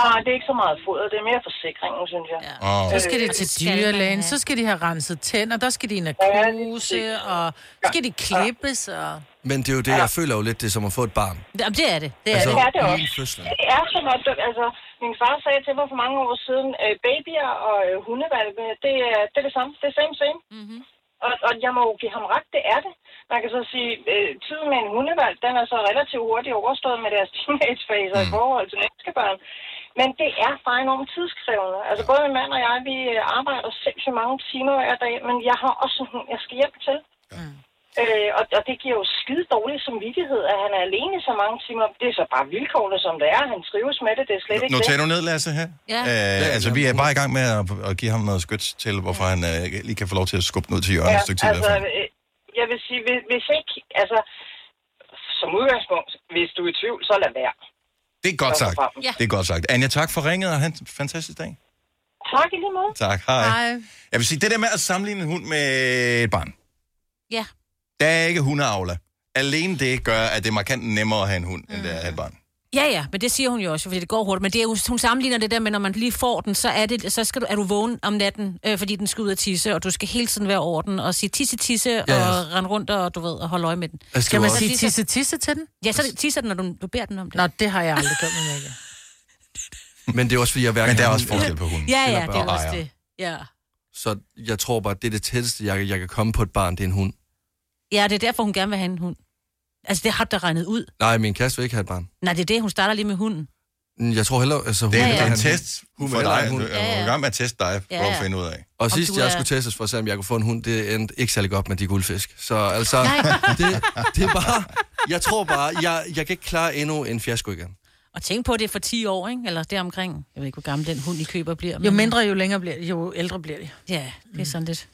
Nej, det er ikke så meget foder. Det er mere forsikringen, synes jeg. Ja. Åh. Så skal de til dyrlægen, så skal de have renset tænder, der skal de ind og knuse, og så skal de klippes, og... Men det er jo det, jeg føler jo lidt, det er som at få et barn. Jamen, det er det. Det er, altså, det, er det også. lige fødslen. Det er som at, altså, min far sagde til mig for mange år siden, øh, babyer og øh, hundevalpe, det er, det er det samme. Det er same, same. Mm-hmm. Og, og jeg må jo give ham ret, det er det. Man kan så sige, øh, tiden med en hundevalp, den er så relativt hurtigt overstået med deres teenagefaser mm. i forhold til menneskebørn. Men det er bare enormt tidskrævende. Altså både min mand og jeg, vi øh, arbejder sindssygt mange timer hver dag, men jeg har også en hund, jeg skal hjem til. Øh, og, og det giver jo skide dårlig samvittighed, at han er alene i så mange timer. Det er så bare vilkårene, som det er. Han trives med det, det er slet ikke Noter det. du ned, Lasse, her? Ja. Øh, altså, vi er bare i gang med at, at give ham noget skyts til, hvorfor han øh, lige kan få lov til at skubbe den ud til hjørnet ja, et stykke tid. altså, Altså, øh, jeg vil sige, hvis, hvis ikke, altså, som udgangspunkt, hvis du er i tvivl, så lad være. det er godt så sagt. frem. Ja. Det er godt sagt. Anja, tak for ringet, og han fantastisk dag. Tak i lige måde. Tak, hej. Jeg vil sige, det der med at sammenligne en hund med et barn, Ja. der er ikke hundeavler. Alene det gør, at det er markant nemmere at have en hund, mm. end det er at have et barn. Ja, ja, men det siger hun jo også, fordi det går hurtigt. Men det er, jo- hun sammenligner det der med, når man lige får den, så er, det, så skal du, er du vågen om natten, øh, fordi den skal ud og tisse, og du skal hele tiden være over den, og sige tisse, tisse, ja, ja. og rende rundt og, du ved, og holde øje med den. Jeg skal Kan man også- sige tisse, tisse til den? Ja, så tisser den, når du, du beder den om det. Nå, det har jeg aldrig gjort med mig. Men det er også, fordi jeg hverken... Men der er også forskel på hunden. Ah, Ja, ja, det er også det. Ja. Så jeg tror bare, det er det tætteste, jeg, jeg kan komme på et barn, det er en hund. ja, det er derfor, hun gerne vil have en hund. Altså, det har der regnet ud. Nej, min kæreste vil ikke have et barn. Nej, det er det, hun starter lige med hunden. Jeg tror heller, altså, hun Det er, vil det er have en test Hun for vil dig. have Du en du hund. er i gang med at teste dig, for Ja, ja. at finde ud af. Og Om sidst du jeg er- skulle testes for at se, om jeg kunne få en hund, det endte ikke særlig godt med de guldfisk. Så altså, det, det er bare... Jeg tror bare, jeg, jeg kan ikke klare endnu en fiasko igen. Og tænk på, at det er for 10 år, ikke? Eller deromkring. Jeg ved ikke, hvor gammel den hund, I køber, bliver. Jo mindre, jo længere bliver det, jo ældre bliver Mm. det. Ja, det er sådan lidt.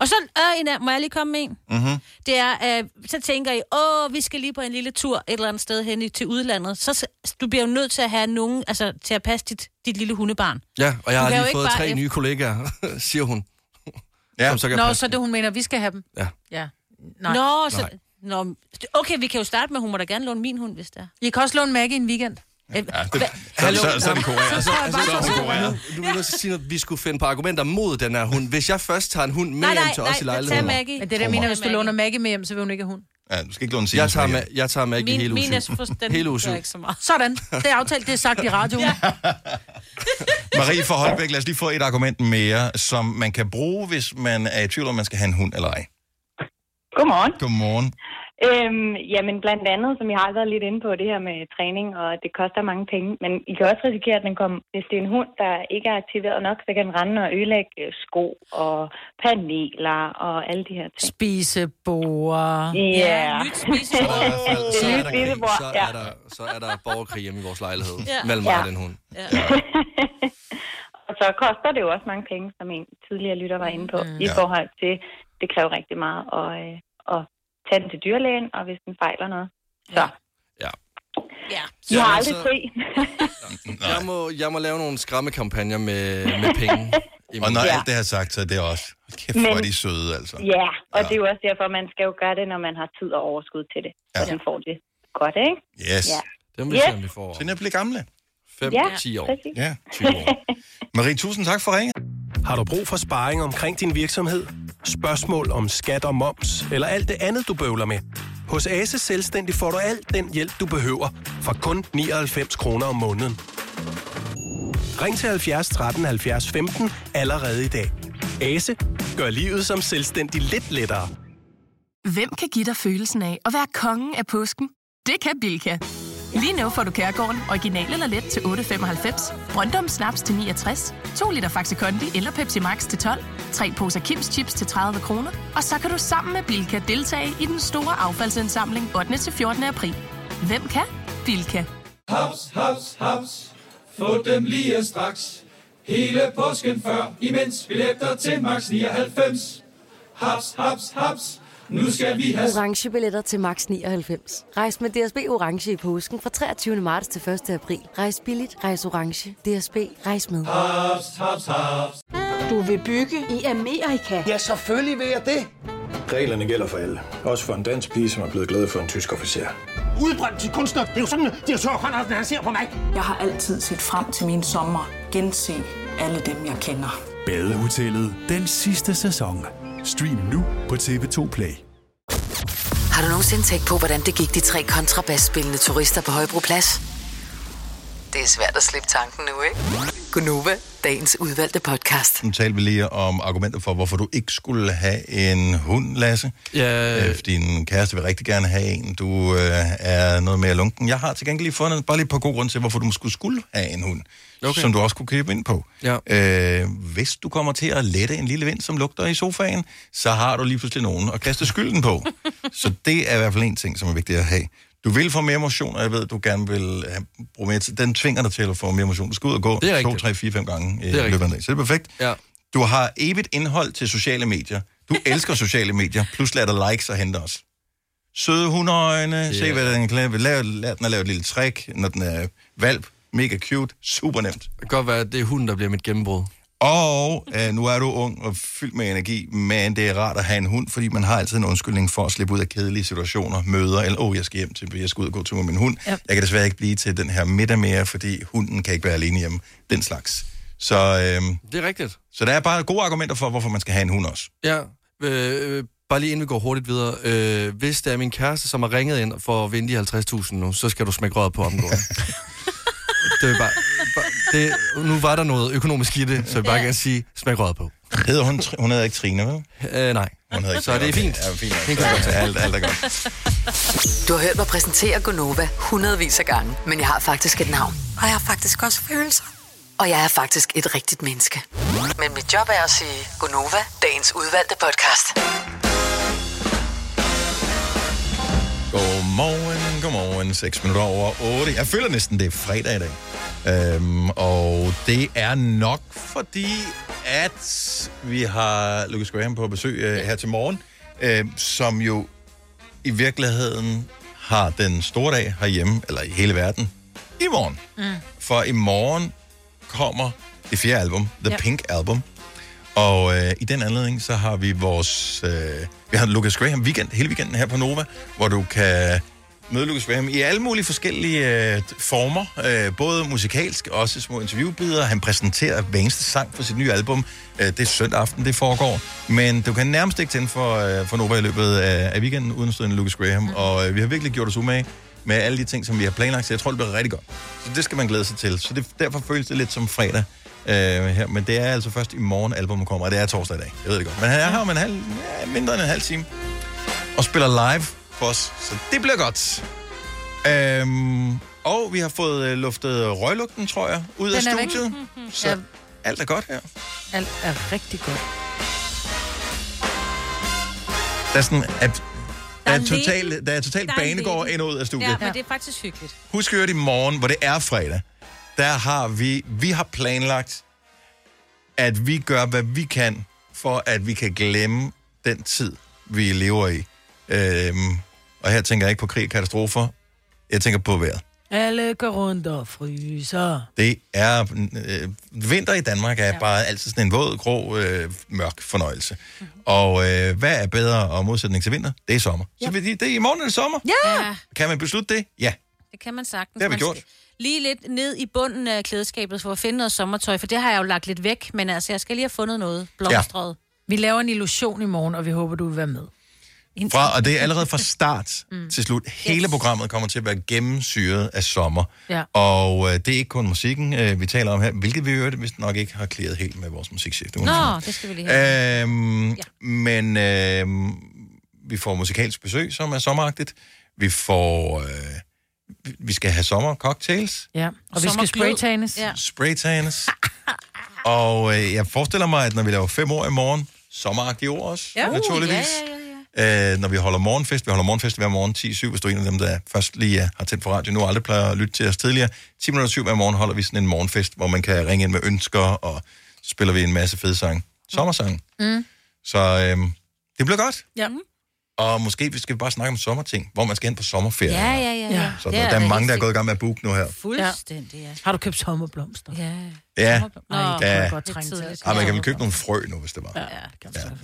Og så øh, en af, må jeg lige komme med en? Mm-hmm. Det er, øh, så tænker I, åh, vi skal lige på en lille tur et eller andet sted hen i, til udlandet. Så s- du bliver jo nødt til at have nogen, altså til at passe dit, dit lille hundebarn. Ja, og jeg Du har kan jo lige ikke fået bare tre efter- nye kollegaer, siger hun. Ja. Som så kan Nå, passe. så er det, hun mener, vi skal have dem. Ja. Ja. Nej. Nå, så, nå, okay, vi kan jo starte med, hun må da gerne låne min hund, hvis det er. I kan også låne Maggie en weekend. Ja, det, Hallo? så, så, så er den Så, korea. Så, så, så, så er den korea. Altså, Nu vil jeg sige, at vi skulle finde på argumenter mod den her hund. Hvis jeg først tager en hund med Nej, hjem nej, til os i nej, lejligheden. Men det der mener, hvis du låner Maggie med hjem, så vil hun ikke have hund. Ja, du skal ikke låne Jeg tager, med, jeg tager med ikke Min- hele min er usyg. for- den Hele gør usyg. ikke så meget. Sådan. Det er aftalt, det er sagt i radioen. ja. Marie fra Holbæk, lad os lige få et argument mere, som man kan bruge, hvis man er i tvivl om, man skal have en hund eller ej. Godmorgen. Godmorgen. Øhm, jamen blandt andet, som jeg har været lidt inde på, det her med træning, og at det koster mange penge. Men I kan også risikere, at den kommer, hvis det er en hund, der ikke er aktiveret nok, så kan den rende og ødelægge øh, sko og paneler og alle de her ting. Spisebord. Ja. nyt spisebord. Så er der- så er der Det er krig. spisebord, Så ja. er der- Så er der borgerkrig hjemme i vores lejlighed Ja. mellem mig og Ja. den hund. Og så koster det jo også mange penge, som en tidligere lytter var inde på, mm. i Ja. forhold til, det kræver rigtig meget at, øh, at tage den til dyrlægen, og hvis den fejler noget. Så. Ja. Ja. Du har Så- aldrig så- fri. Jeg må, jeg må lave nogle skræmmekampagner med, med penge. Og når Ja. alt det er sagt, så er det også... Hold Kæft, hvor er Men- de søde, altså. Ja, og det er jo også derfor, man skal jo gøre det, når man har tid og overskud til det. Ja. Så den får det godt, ikke? Yes. Ja. Dem vil vi se, om vi får. Til jeg bliver gamle. 5, Ja, 10 år. præcis. Ja, 20 år. Marie, tusind tak for ringen. Har du brug for sparring omkring din virksomhed? Spørgsmål om skat og moms, eller alt det andet, du bøvler med? Hos Ase Selvstændig får du alt den hjælp, du behøver, for kun 99 kroner om måneden. Ring til 70 13 70 15 allerede i dag. Ase gør livet som selvstændig lidt lettere. Hvem kan give dig følelsen af at være kongen af påsken? Det kan Bilka! Lige nu får du Kærgården original eller let til 8.95, Brøndum Snaps til 69, 2 liter Faxi Kondi eller Pepsi Max til 12, 3 poser Kims Chips til 30 kroner, og så kan du sammen med Bilka deltage i den store affaldsindsamling 8. til 14. april. Hvem kan? Bilka. Haps, haps, haps. Få dem lige straks. Hele påsken før, imens billetter til max 99. Haps, haps, haps. Nu skal vi have... orange billetter til max 99. Rejs med DSB orange i påsken fra 23. marts til 1. april. Rejs billigt, rejs orange. DSB rejs med. Haps, haps, haps. Du vil bygge i Amerika? Ja, selvfølgelig vil jeg det. Reglerne gælder for alle. Også for en dansk pige, som er blevet glad for en tysk officer. Udbrændt til kunstner. Det er jo sådan, at de har tørt, han, han ser på mig. Jeg har altid set frem til min sommer. Gense alle dem, jeg kender. Badehotellet den sidste sæson. Stream nu på TV2 Play. Har du nogensinde tænkt på, hvordan det gik de tre kontrabasspillende turister på Højbroplads? Det er svært at slippe tanken nu, ikke? Gunova, dagens udvalgte podcast. Nu talte vi lige om argumenter for, hvorfor du ikke skulle have en hund, Lasse. Ja. Øh, din kæreste vil rigtig gerne have en. Du øh, er noget mere lunken. Jeg har til gengæld lige fundet bare lige et par gode grunde til, hvorfor du måske skulle have en hund. Okay. Som du også kunne købe ind på. Ja. Øh, hvis du kommer til at lette en lille vind, som lugter i sofaen, så har du lige pludselig nogen at kaste skylden på. så det er i hvert fald en ting, som er vigtigt at have. Du vil få mere motion, og jeg ved, du gerne vil have, bruge mere tid. Den tvinger dig til at få mere motion. Du skal ud og gå 2, 3, 4, 5 gange øh, i Det er løbet af en rigtigt. dag. Så det er perfekt. Ja. Du har evigt indhold til sociale medier. Du elsker sociale medier. Plus lader dig likes og hente os. Søde hundeøjne. Yeah. Se, hvad den kan lave. Lær, lær den at lave et lille trick, når den er valp. Mega cute. Super nemt. Det kan godt være, at det er hunden, der bliver mit gennembrud. Og øh, nu er du ung og fyldt med energi, men det er rart at have en hund, fordi man har altid en undskyldning for at slippe ud af kedelige situationer, møder, eller åh, oh, jeg skal hjem til, jeg skal ud og gå tur med min hund. Ja. Jeg kan desværre ikke blive til den her middag mere, fordi hunden kan ikke være alene hjemme. Den slags. Så, øh, Det er rigtigt. så der er bare gode argumenter for, hvorfor man skal have en hund også. Ja, øh, øh, bare lige inden vi går hurtigt videre. Øh, hvis det er min kæreste, som har ringet ind for at vinde de 50.000 nu, så skal du smække røret på omgående. det er bare, bare det, nu var der noget økonomisk i det, så jeg bare kan sige, smæk røret på. Hedder hun, Tr- hun hedder ikke Trine, vel? Øh, nej. Hun hedder ikke Så det er Okay, fint. Ja, fint. Det kan jeg godt tage. alt, alt er godt. Du har hørt mig præsentere Gunova hundredvis af gange, men jeg har faktisk et navn. Og jeg har faktisk også følelser. Og jeg er faktisk et rigtigt menneske. Men mit job er at sige Gunova, dagens udvalgte podcast. Godmorgen, godmorgen. 6 minutter over 8. Jeg føler næsten, det er fredag i dag. Øhm, og det er nok fordi, at vi har Lucas Graham på besøg øh, her til morgen, øh, som jo i virkeligheden har den store dag herhjemme, eller i hele verden, i morgen. Mm. For i morgen kommer det fjerde album, The Ja. ja. Pink Album. Og øh, i den anledning, så har vi vores... Øh, vi har Lucas Graham weekend, hele weekenden her på Nova, hvor du kan møde Lucas Graham i alle mulige forskellige øh, former. Øh, både musikalsk, også små interviewbidder. Han præsenterer hver eneste sang for sit nye album. Øh, det er søndag aften, det foregår. Men du kan nærmest ikke tænde for, øh, for Nova i løbet af, af weekenden, uden stødende Lucas Graham. Mm. Og øh, vi har virkelig gjort os umage med alle de ting, som vi har planlagt, så jeg tror, det bliver rigtig godt. Så det skal man glæde sig til. Så det, derfor føles det lidt som fredag øh, her. Men det er altså først i morgen, albumet kommer, og det er torsdag i dag. Jeg ved det godt. Men han er her om en halv, ja, mindre end en halv time og spiller live for os. Så det bliver godt. Øhm, og vi har fået øh, luftet røglugten, tror jeg, ud af Den er væk. studiet. Så Ja. alt er godt her. Alt er rigtig godt. Der er sådan, at der er, lidt- total, der er total der er en banegård del. ind og ud af studiet. Ja, men det er faktisk hyggeligt. Husk at i morgen, hvor det er fredag, der har vi, vi har planlagt at vi gør, hvad vi kan, for at vi kan glemme den tid, vi lever i. Øhm, og her tænker jeg ikke på krig og katastrofer. Jeg tænker på vejret. Alle går rundt og fryser. Det er... Øh, vinter i Danmark er ja. bare altid sådan en våd, grå, øh, mørk fornøjelse. Mm-hmm. Og øh, hvad er bedre og modsætning til vinter? Det er sommer. Ja. Så vil de, det er i morgen er det sommer. Ja! Kan man beslutte det? Ja. Det kan man sagtens. Det har vi Man skal gjort. Lige lidt ned i bunden af klædeskabet for at finde noget sommertøj, for det har jeg jo lagt lidt væk, men altså, jeg skal lige have fundet noget blomstret. Vi laver en illusion i morgen, og vi håber, du vil være med. Fra, og det er allerede fra start Mm. mm. til slut. Hele yes. programmet kommer til at være gennemsyret af sommer. Ja. Og øh, det er ikke kun musikken, øh, vi taler om her, hvilket vi i øvrigt vist nok ikke har klaret helt med vores musikchef. Det må man sige. Nå, det skal vi lige have. Øhm, ja. Men øhm, vi får musikalsk besøg, som er sommeragtigt. Vi får... Øh, vi- vi skal have sommercocktails, Ja, og vi skal Sommerglød. spraytanes. Ja. spraytanes. og øh, jeg forestiller mig, at når vi laver fem år i morgen, sommeragtige ord også, ja. naturligvis. Ja, ja, ja, ja. Øh, når vi holder morgenfest, vi holder morgenfest hver morgen 10-7, hvis du er en af dem, der først lige er, har tændt for radio nu og aldrig plejer at lytte til os tidligere. 10 minutter 7 hver morgen holder vi sådan en morgenfest, hvor man kan ringe ind med ønsker, og så spiller vi en masse fede sange. Sommersange. Mm. Så øh, det bliver godt. Ja. Og måske vi skal bare snakke om sommerting, hvor man skal hen på sommerferie. Ja, ja, ja, ja. Så Det der, er der da er mange, helt der er gået i gang med at booke nu her. Fuldstændig, ja. Har du købt sommerblomster? Ja. Ja. Nå, det kan ja. jeg godt trænge til. Ja, man kan vel købe nogle frø nu, hvis det var. Ja, det kan man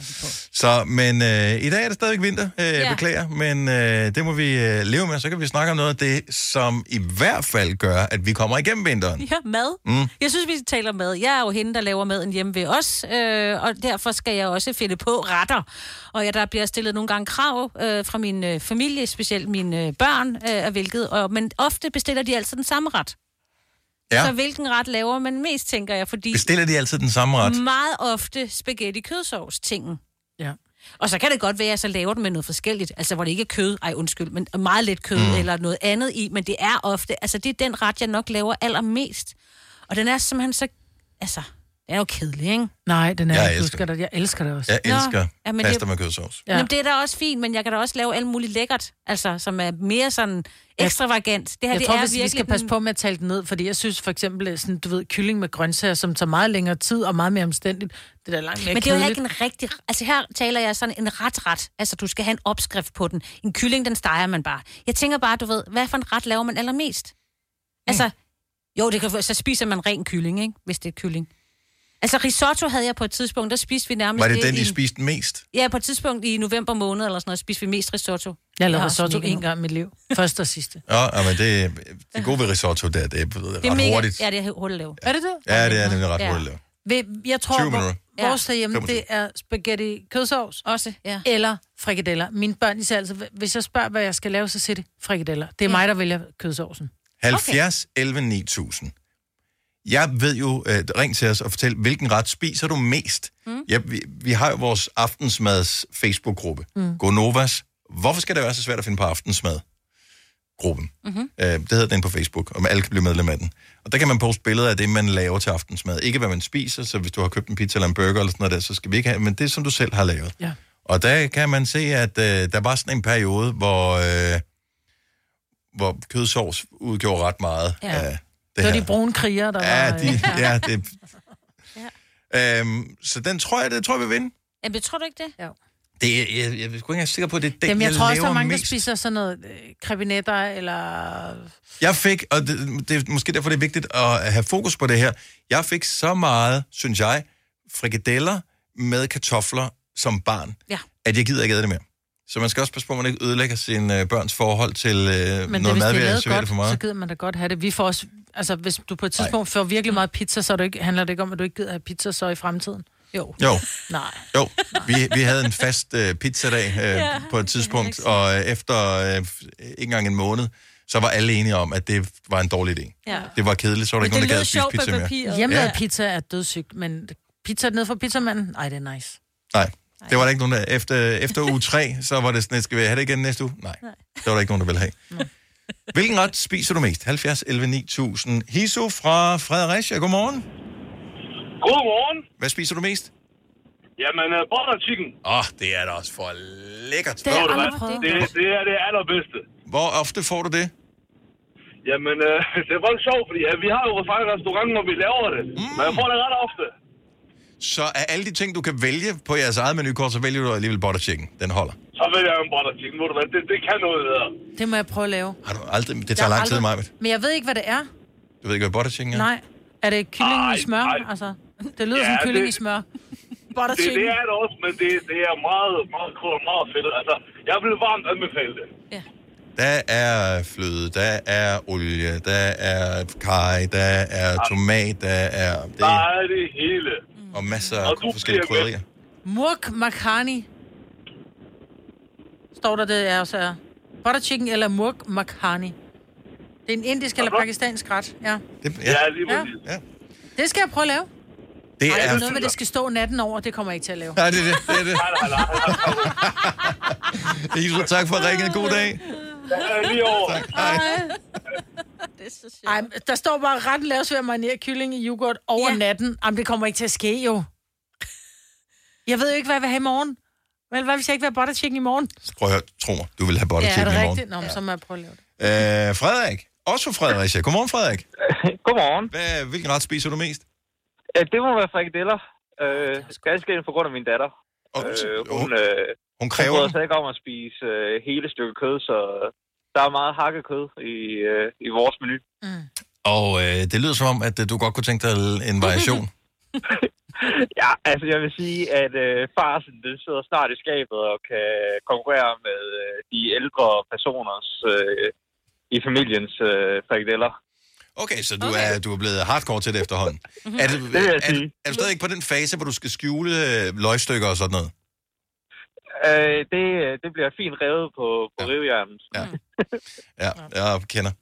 Så, men øh, i dag er det stadigvæk vinter, øh, ja. beklager, men øh, det må vi øh, leve med. Så kan vi snakke om noget af det, som i hvert fald gør, at vi kommer igennem vinteren. Ja, mad. Mm. Jeg synes, vi taler mad. Jeg er jo hende, der laver maden hjemme ved os, øh, og derfor skal jeg også finde på retter. Og ja, der bliver stillet nogle gange krav øh, fra min øh, familie, specielt mine øh, børn, øh, af hvilket, og, men ofte bestiller de altid den samme ret. Ja. Så hvilken ret laver man mest, tænker jeg, fordi Bestiller de altid den samme ret? meget ofte spaghetti kødsovs tingen. Ja. Og så kan det godt være, at jeg så laver den med noget forskelligt. Altså, hvor det ikke er kød. Ej, undskyld, men meget lidt kød Mm. mm. eller noget andet i. Men det er ofte... Altså, det er den ret, jeg nok laver allermest. Og den er simpelthen så... Altså, den er jo kedelig, ikke? Nej, den er Jeg jeg ikke. Du elsker skal da, jeg elsker det også. Jeg elsker ja, ja, men pasta det- med kødsovs. Ja. Jamen, det er da også fint, men jeg kan da også lave alt muligt lækkert. Altså, som er mere sådan ekstravagant. Det her, jeg det tror, er hvis vi virkelig skal passe den- på med at tale det ned, fordi jeg synes for eksempel, øh, sådan, du ved, kylling med grøntsager, som tager meget længere tid og meget mere omstændigt, det er da langt mere Men det er jo heller ikke kedeligt. en rigtig... Altså her taler jeg sådan en ret-ret. Altså du skal have en opskrift på den. En kylling, den steger man bare. Jeg tænker bare, du ved, hvad for en ret laver man allermest? Mm. Altså, jo, det kan, så spiser man ren kylling, ikke? Hvis det er kylling. Altså risotto havde jeg på et tidspunkt, der spiste vi nærmest... Var det den, i I en- spiste mest? Ja, på et tidspunkt i november måned eller sådan noget, spiste vi mest risotto. Jeg har lavede også risotto mega en gang i mit liv. Første og sidste. Ja, ja men det, det gode ved risotto, det er, det er, det Det er er ret mega, hurtigt. Ja, det er hurtigt lavet. Er det det? Ja, det er nemlig ret Ja. hurtigt lavet. Ved- Jeg tror, 20 hvor- minutter. vores derhjemme, det 25. er spaghetti kødsovs. Også, ja. Eller frikadeller. Mine børn, de siger altså, hvis jeg spørger, hvad jeg skal lave, så siger de frikadeller. Det er mig, der vælger kødsovsen. 70 11 9000. Jeg ved jo, øh, ring til os og fortæl, hvilken ret spiser du mest? Mm. Ja, vi, vi har jo vores aftensmads Facebook-gruppe, Mm. mm. Gonovas. Hvorfor skal det være så svært at finde på aftensmad? Gruppen. Mm-hmm. Øh, det hedder den på Facebook, og alle kan blive medlem af den. Og der kan man poste billeder af det, man laver til aftensmad. Ikke hvad man spiser, så hvis du har købt en pizza eller en burger eller sådan noget der, så skal vi ikke have, men det som du selv har lavet. Ja. Og der kan man se, at øh, der var sådan en periode, hvor, øh, hvor kødsovs udgjorde ret meget Ja. af det, Det var her. de brune krigere, der Ja, var... de, ja, det... Øhm, så den tror jeg, det tror jeg vil vinde. Jamen, jeg tror du ikke det? Jo. Det, er- jeg, jeg, jeg er sgu ikke engang sikker på, at det er den, Dem, jeg, tror også, der laver er mange, mest. der spiser sådan noget øh, krebinetter, eller... Jeg fik, og det, det er måske derfor, det er vigtigt at have fokus på det her. Jeg fik så meget, synes jeg, frikadeller med kartofler som barn, Ja. at jeg gider ikke æde det mere. Så man skal også passe på, at man ikke ødelægger sine øh, børns forhold til øh, Men det, noget hvis mad, det ved er at lavet servere det for godt, så meget. gider man da godt have det. Vi får også... Altså, hvis du på et tidspunkt får virkelig meget pizza, så er det ikke, handler det ikke om, at du ikke gider have pizza så i fremtiden. Jo. Jo. Nej. Jo, vi, vi havde en fast øh, pizzadag øh, Ja, ja, på et tidspunkt, og øh, efter øh, ikke engang en måned, så var alle enige om, at det var en dårlig idé. Ja. Det var kedeligt, så var der ikke nogen, der gad at spise pizza mere. Hjemmelavet Ja. pizza er dødssygt, men pizza ned fra pizzamanden, ej, det er nice. Nej, det var der ikke nogen, der... Efter, efter uge 3, så var det sådan, skal vi have det igen næste uge? Nej, Nej. det var der ikke nogen, der ville have. Hvilken ret spiser du mest? 70, 11, 9000. Hiso fra Fredericia, godmorgen. Godmorgen. Hvad spiser du mest? Jamen, uh, butter chicken. Åh, oh, det er da også for lækkert. Det, er det, det er det allerbedste. Hvor ofte får du det? Jamen, øh, uh, det er voldsomt sjovt, fordi uh, vi har jo faktisk restaurant, når vi laver det. Mm. Men jeg får det ret ofte. Så af alle de ting, du kan vælge på jeres eget menukort, så vælger du alligevel butter chicken. Den holder. Så vil jeg jo en butter chicken, ved du hvad? Det, det kan noget bedre. Det må jeg prøve at lave. Har du aldrig, det Jeg tager har lang tid, aldrig- Majbet. Men jeg ved ikke, hvad det er. Du ved ikke, hvad butter chicken Ja. er? Nej. Er det kylling Ej, i smør? ej. Altså, det lyder Ja, ja, som kylling det- det... i smør. Butter Det, chicken. det er det også, men det, det er meget, meget krudt og meget fedt. Altså, jeg vil varmt anbefale det. Der er fløde, der er olie, der er kaj, der er tomat, der er... Det, Der er det hele. og masser af forskellige bliver krydderier. Murk Makhani. Står der, det er også er. Butter chicken eller murk makhani. Det er en indisk eller pakistansk ret, ja. Det, ja. ja, lige præcis. Ja. Det skal jeg prøve at lave. Det Ej, er... noget med, det skal stå natten over, det kommer jeg ikke til at lave. Nej, det er det. det, er det. Isra, tak for ringet. God dag. Ja, lige over. Det er så sjovt. Ej, men der står bare ret laves ved at marinere kylling i yoghurt over ja. natten. Jamen, det kommer ikke til at ske, jo. Jeg ved jo ikke, hvad jeg vil have i morgen. Vel, hvad hvis jeg ikke vil have butter chicken i morgen? Prøv at høre, tro mig, du vil have butter ja, er chicken det i rigtigt? morgen. Nå, men så må jeg prøve at lave det. Øh, Frederik. Også fra Fredericia. Godmorgen, Frederik. Godmorgen. Hvad, hvilken ret spiser du mest? Ja, det må være frikadeller. Øh, ganske enkelt på grund af min datter. Øh, hun, øh, hun kræver hun bryder sig ikke om at spise øh, hele stykke kød, så der er meget hakket kød i, øh, i vores menu. Og øh, det lyder som om, at øh, du godt kunne tænke dig en variation. Ja, altså jeg vil sige, at øh, farsen den sidder snart i skabet og kan konkurrere med øh, de ældre personers øh, i familiens øh, frikadeller. Okay, så du, okay. Er, du er blevet hardcore til det efterhånden. Mhm. Er, du, Det vil jeg er, er, er du stadig ikke på den fase, hvor du skal skjule øh, løgstykker og sådan noget? Øh, det, det bliver fint revet på, på ja. rivjernen. Ja. Ja, jeg kender.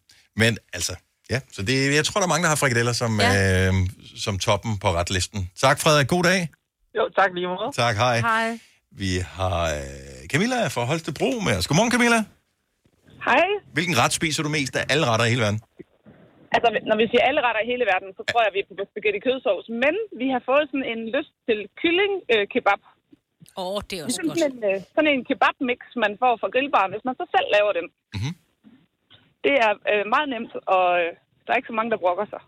Men altså, ja. Så det, jeg tror, der er mange, der har frikadeller som, ja. øh, som toppen på retlisten. Tak, Frederik. God dag. Jo, tak lige Oh, måde. Tak, hej. Vi har øh, Camilla fra Holstebro med os. Godmorgen, Camilla. Hej. Hvilken ret spiser du mest af alle retter i hele verden? Altså, når vi siger alle retter i hele verden, så tror jeg, vi er på spaghetti kødsovs. Men vi har fået sådan en lyst til kylling øh, kebab. Åh, oh, det er også sådan En, øh, sådan en kebabmix, man får fra grillbaren, hvis man så selv laver den. Mm-hmm. Mhm. Det er øh, meget nemt, og øh, der er ikke så mange, der brokker sig.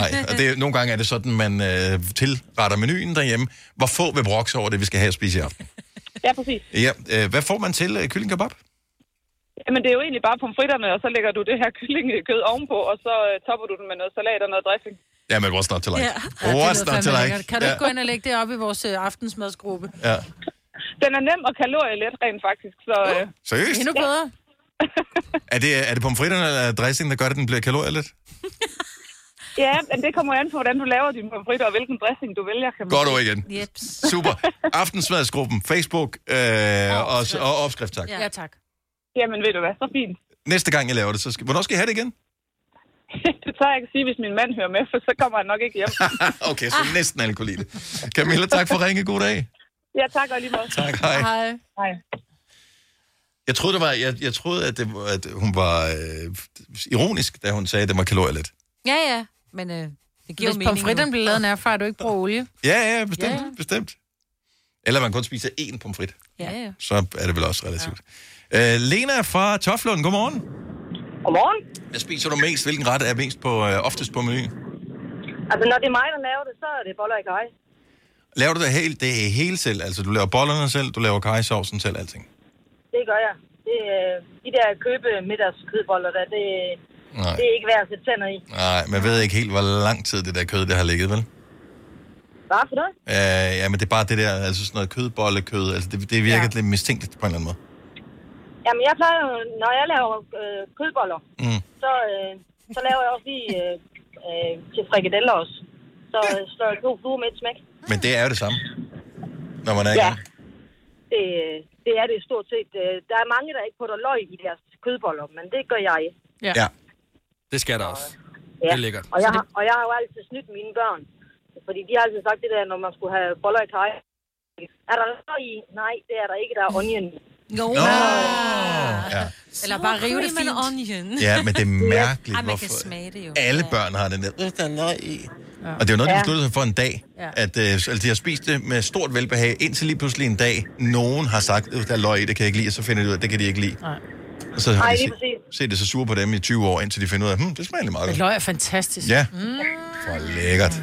Nej, og det, er- nogle gange er det sådan, man øh, tilretter menuen derhjemme. Hvor få vil brokke sig over det, vi skal have at spise i aften? Ja, præcis. Ja, øh, hvad får man til øh, kylling kebab? Jamen, det er jo egentlig bare pomfritterne, og så lægger du det her kyllingekød ovenpå, og så øh, topper du den med noget salat og noget dressing. Ja, men what's not to like? Ja, Ja. det What's lyder not to fandme like? lækkert. Kan du ikke ja. gå ind og lægge det op i vores øh, aftensmadsgruppe? Ja. Den er nem og kalorielet rent faktisk, så... Øh, Seriøst? Endnu bedre. Er det, er det pomfritterne eller dressingen, der gør, at den bliver kalorielet? Ja, men det kommer jo an på, hvordan du laver dine pomfritter, og hvilken dressing du vælger. Kan man Godt sige. ord igen. Super. Aftensmadsgruppen, Facebook øh, og, og opskrift, tak. Ja, tak. Jamen, ved du hvad, så fint. Næste gang, jeg laver det, så skal... Hvornår skal jeg have det igen? Det tør jeg ikke sige, hvis min mand hører med, for så kommer han nok ikke hjem. okay, så næsten alle kunne lide det. Camilla, tak for ringe. God dag. Ja, tak og lige måde. Tak, hej. Hej. hej. Jeg troede, det var, jeg, jeg troede at, det, var- at hun var øh, ironisk, da hun sagde, at det var kalorielet. Ja, ja, men øh, det giver jo Hvis mening pomfritterne nu. bliver lavet nærfra, er du ikke bruger olie. Ja, ja, bestemt, Ja, ja. bestemt. Eller man kun spiser én pomfrit, Ja, ja. så er det vel også relativt. Ja. Øh, Lena fra Toflund, godmorgen. Godmorgen. Hvad spiser du mest? Hvilken ret er mest på, øh, oftest på menuen? Altså, når det er mig, der laver det, så er det boller i kaj. Laver du det helt, det hele selv? Altså, du laver bollerne selv, du laver kajsovsen selv, alting? Det gør jeg. Det, øh, de der købe middagskødboller, der, det, Nej. det er ikke værd at sætte tænder i. Nej, man ved ikke helt, hvor lang tid det der kød, det har ligget, vel? Hvad for noget? Øh, ja, men det er bare det der, altså sådan noget kødbollekød, altså det, det virker ja. lidt mistænkeligt på en eller anden måde. Jamen, jeg plejer jo, når jeg laver øh, kødboller, Mm. så, øh, så laver jeg også lige øh, øh, til frikadeller også. Så øh, slår jeg to fluer med et smæk. Men det er jo det samme, når man er i Ja. gang. Det, øh, det er det stort set. Øh, Der er mange, der ikke putter løg i deres kødboller, men det gør jeg. Ja. ja. Det skal der også. Ja. Det er lækkert. Og jeg, har, og jeg har jo altid snydt mine børn. Fordi de har altid sagt det der, når man skulle have boller i kaj. Er der løg i? Nej, det er der ikke. Der er onion. Jo. Nå. Ja. Eller bare rive det fint. Onion. ja, men det er mærkeligt, Ej, man kan hvorfor smage det jo. alle børn har den der, "Øh, der er løg i. Og det er jo noget, de Ja. besluttede sig for en dag. Ja. At, øh, altså, de har spist det med stort velbehag, indtil lige pludselig en dag, nogen har sagt, at der er løg i, det kan jeg ikke lide, og så finder de ud af, at det kan de ikke lide. Nej. Og så har Nej, de lige se, set det så sure på dem i "Hmm, 20 år, indtil de finder ud af, hm, det smager egentlig meget Det Mm. godt. løg er fantastisk. Ja. Mm. For lækkert.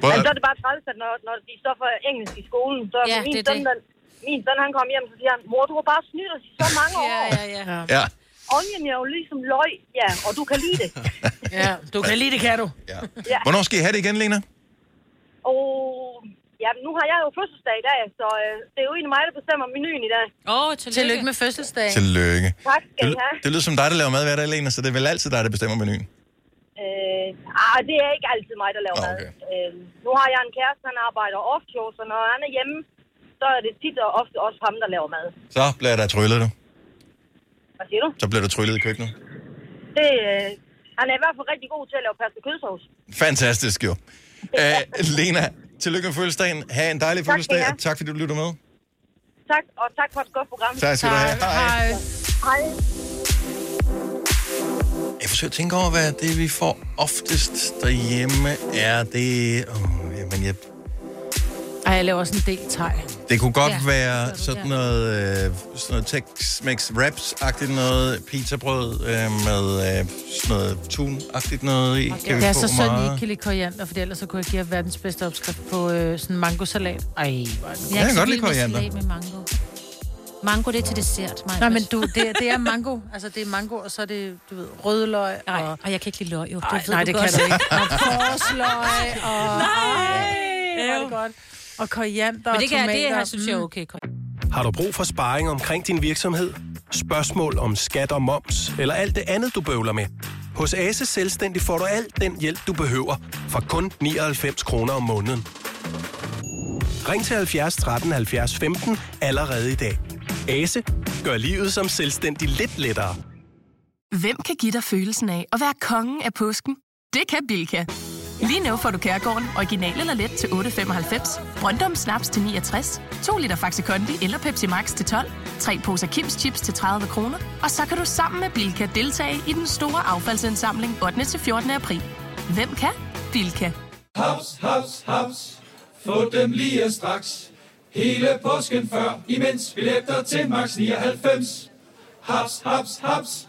Prøv Men at- så er det bare træls, at når, når de står for engelsk i skolen, så Ja, ja, min, det er søn, det. den, min søn, han kom hjem, så siger han, mor, du har bare snydt os i så mange år. Ja, ja, ja. Ja. Onion er jo ligesom løg, ja, og du kan lide det. Ja, du kan lide det, kan du. Ja. ja. Hvornår skal I have det igen, Lena? Og ja, nu har jeg jo fødselsdag i dag, så øh, det er jo egentlig mig, der bestemmer menuen i dag. Åh, oh, tillykke. Tillykke med fødselsdagen. Tillykke. Tak Det, skal I have. ly- det lyder som dig, der laver mad hver dag, Lena, så det er vel altid dig, der bestemmer menuen. Øh, ah, det er ikke altid mig, der laver mad. Øh, nu har jeg en kæreste, han arbejder offshore, så når han er hjemme, så er det tit og ofte også ham, der laver mad. Så bliver der tryllet, du. Hvad siger du? Så bliver der tryllet i køkkenet. Det, øh, han er i hvert fald rigtig god til at lave pasta kødsovs. Fantastisk, jo. Æ, Lena, tillykke med fødselsdagen. Ha' en dejlig Tak, fødselsdag, Lena. og tak fordi du lytter med. Tak, og tak for et godt program. Tak skal du have. Tak. Hej. Hej. Jeg forsøger at tænke over, hvad det, vi får oftest derhjemme, er det... Oh, jamen, jeg, Ej, jeg laver også en del teg. det kunne godt Ja, ja, være sådan noget, øh, sådan noget Tex-Mex wraps-agtigt noget, pizzabrød øh, med øh, sådan noget tun-agtigt noget i. Kan vi Jeg er få så synd, I meget? ikke kan lide koriander, for ellers så kunne jeg give jer verdens bedste opskrift på øh, sådan en mangosalat. Ej, hvor er det Jeg kan godt lide koriander. Jeg er ikke så vild med salat med mango. Mango, det er til dessert, mig. Nej, men du, det, er- det er mango. Altså, det er mango, og så er det, du ved, rødløg. Nej, og, og jeg kan ikke lide løg, jo. Ej, ved nej, du det godt. kan du ikke. Og forsløg, og... Nej! Ej, hvor er det godt. Og koriander Men det kan- og det, tomater. Mm. jeg synes, jeg er okay. Har du brug for sparring omkring din virksomhed? Spørgsmål om skat og moms, eller alt det andet, du bøvler med? Hos Ase Selvstændig får du alt den hjælp, du behøver, for kun 99 kroner om måneden. Ring til 70 13 70 15 allerede i dag. Ase gør livet som selvstændig lidt lettere. Hvem kan give dig følelsen af at være kongen af påsken? Det kan Bilka! Lige nu får du Kærgården original eller let til 8.95, Brøndum Snaps til 69, 2 liter Faxi Kondi eller Pepsi Max til 12, 3 poser Kims Chips til 30 kroner, og så kan du sammen med Bilka deltage i den store affaldsindsamling 8. til 14. april. Hvem kan? Bilka. Haps, haps, haps. Få dem lige straks. Hele påsken før, imens billetter til max 99. Haps, haps, haps.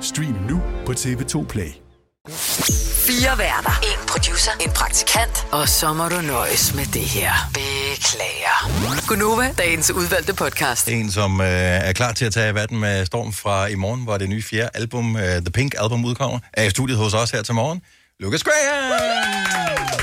Stream nu på TV2 Play. Fire værter. En producer. En praktikant. Og så må du nøjes med det her. Beklager. Gunova, dagens udvalgte podcast. En, som øh, er klar til at tage verden med storm fra i morgen, hvor det nye fjerde album, øh, The Pink Album, udkommer, er i studiet hos os her til morgen. Lucas Graham!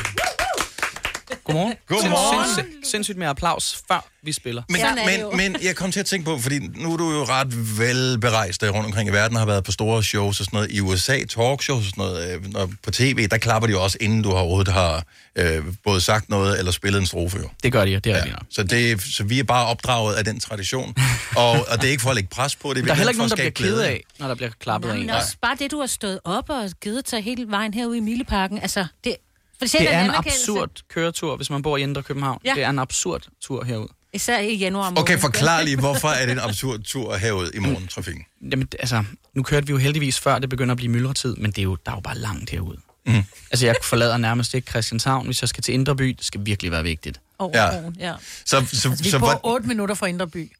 Godmorgen. Godmorgen. Sind, sind, sindssygt med applaus, før vi spiller. Men, men, men jeg kom til at tænke på, fordi nu er du jo ret velberejst øh, rundt omkring i verden, og har været på store shows og sådan noget i USA, talkshows og sådan noget, øh, og på tv, der klapper de jo også, inden du har overhovedet har øh, både sagt noget eller spillet en strofe. Jo. Det gør de, det er ja. Så, det, så vi er bare opdraget af den tradition, og, og det er ikke for at lægge pres på det. er Der er virkelig heller ikke for at nogen, der bliver skabe ked glæde. af, når der bliver klappet af Men en. også bare det, du har stået op og givet til hele vejen herude i Mileparken. Altså, det, fortjener Det er en anerkendelse. absurd køretur, hvis man bor i Indre København. Ja. Det er en absurd tur herud. Især i januar måned. Okay, forklar lige, hvorfor er det en absurd tur herud i morgen, trafikken? Jamen, altså, nu kørte vi jo heldigvis før, det begynder at blive myldretid, men det er jo, der er jo bare langt herude. Mm. Altså, jeg forlader nærmest ikke Christianshavn, hvis jeg skal til Indre By. Det skal virkelig være vigtigt. Over Ja. åen, ja. Så, så, Altså, vi så bor hvor- 8 minutter fra Indre By.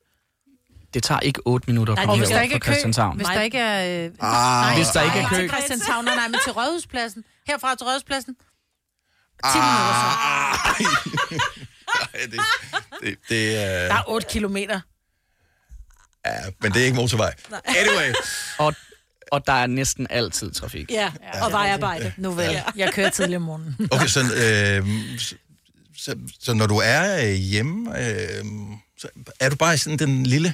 Det tager ikke 8 minutter at og komme hvis der herud ikke fra er kø, Christianshavn. hvis der ikke er... Øh, Ah. nej, Hvis der ikke er nej, kø. til Christianshavn, nej, nej, men til Rådhuspladsen. Herfra til Rådhuspladsen. 10 minutter så. Ah. Nej, det, det, det øh, er... Der er 8 kilometer. Ja, men det er ikke motorvej. Anyway. og, og der er næsten altid trafik. Ja, og vejarbejde. Nu vel. Ja. Jeg kører tidligere om morgenen. Okay, så, øh, så, så, så når du er øh, hjemme, øh, så er du bare i sådan, den lille,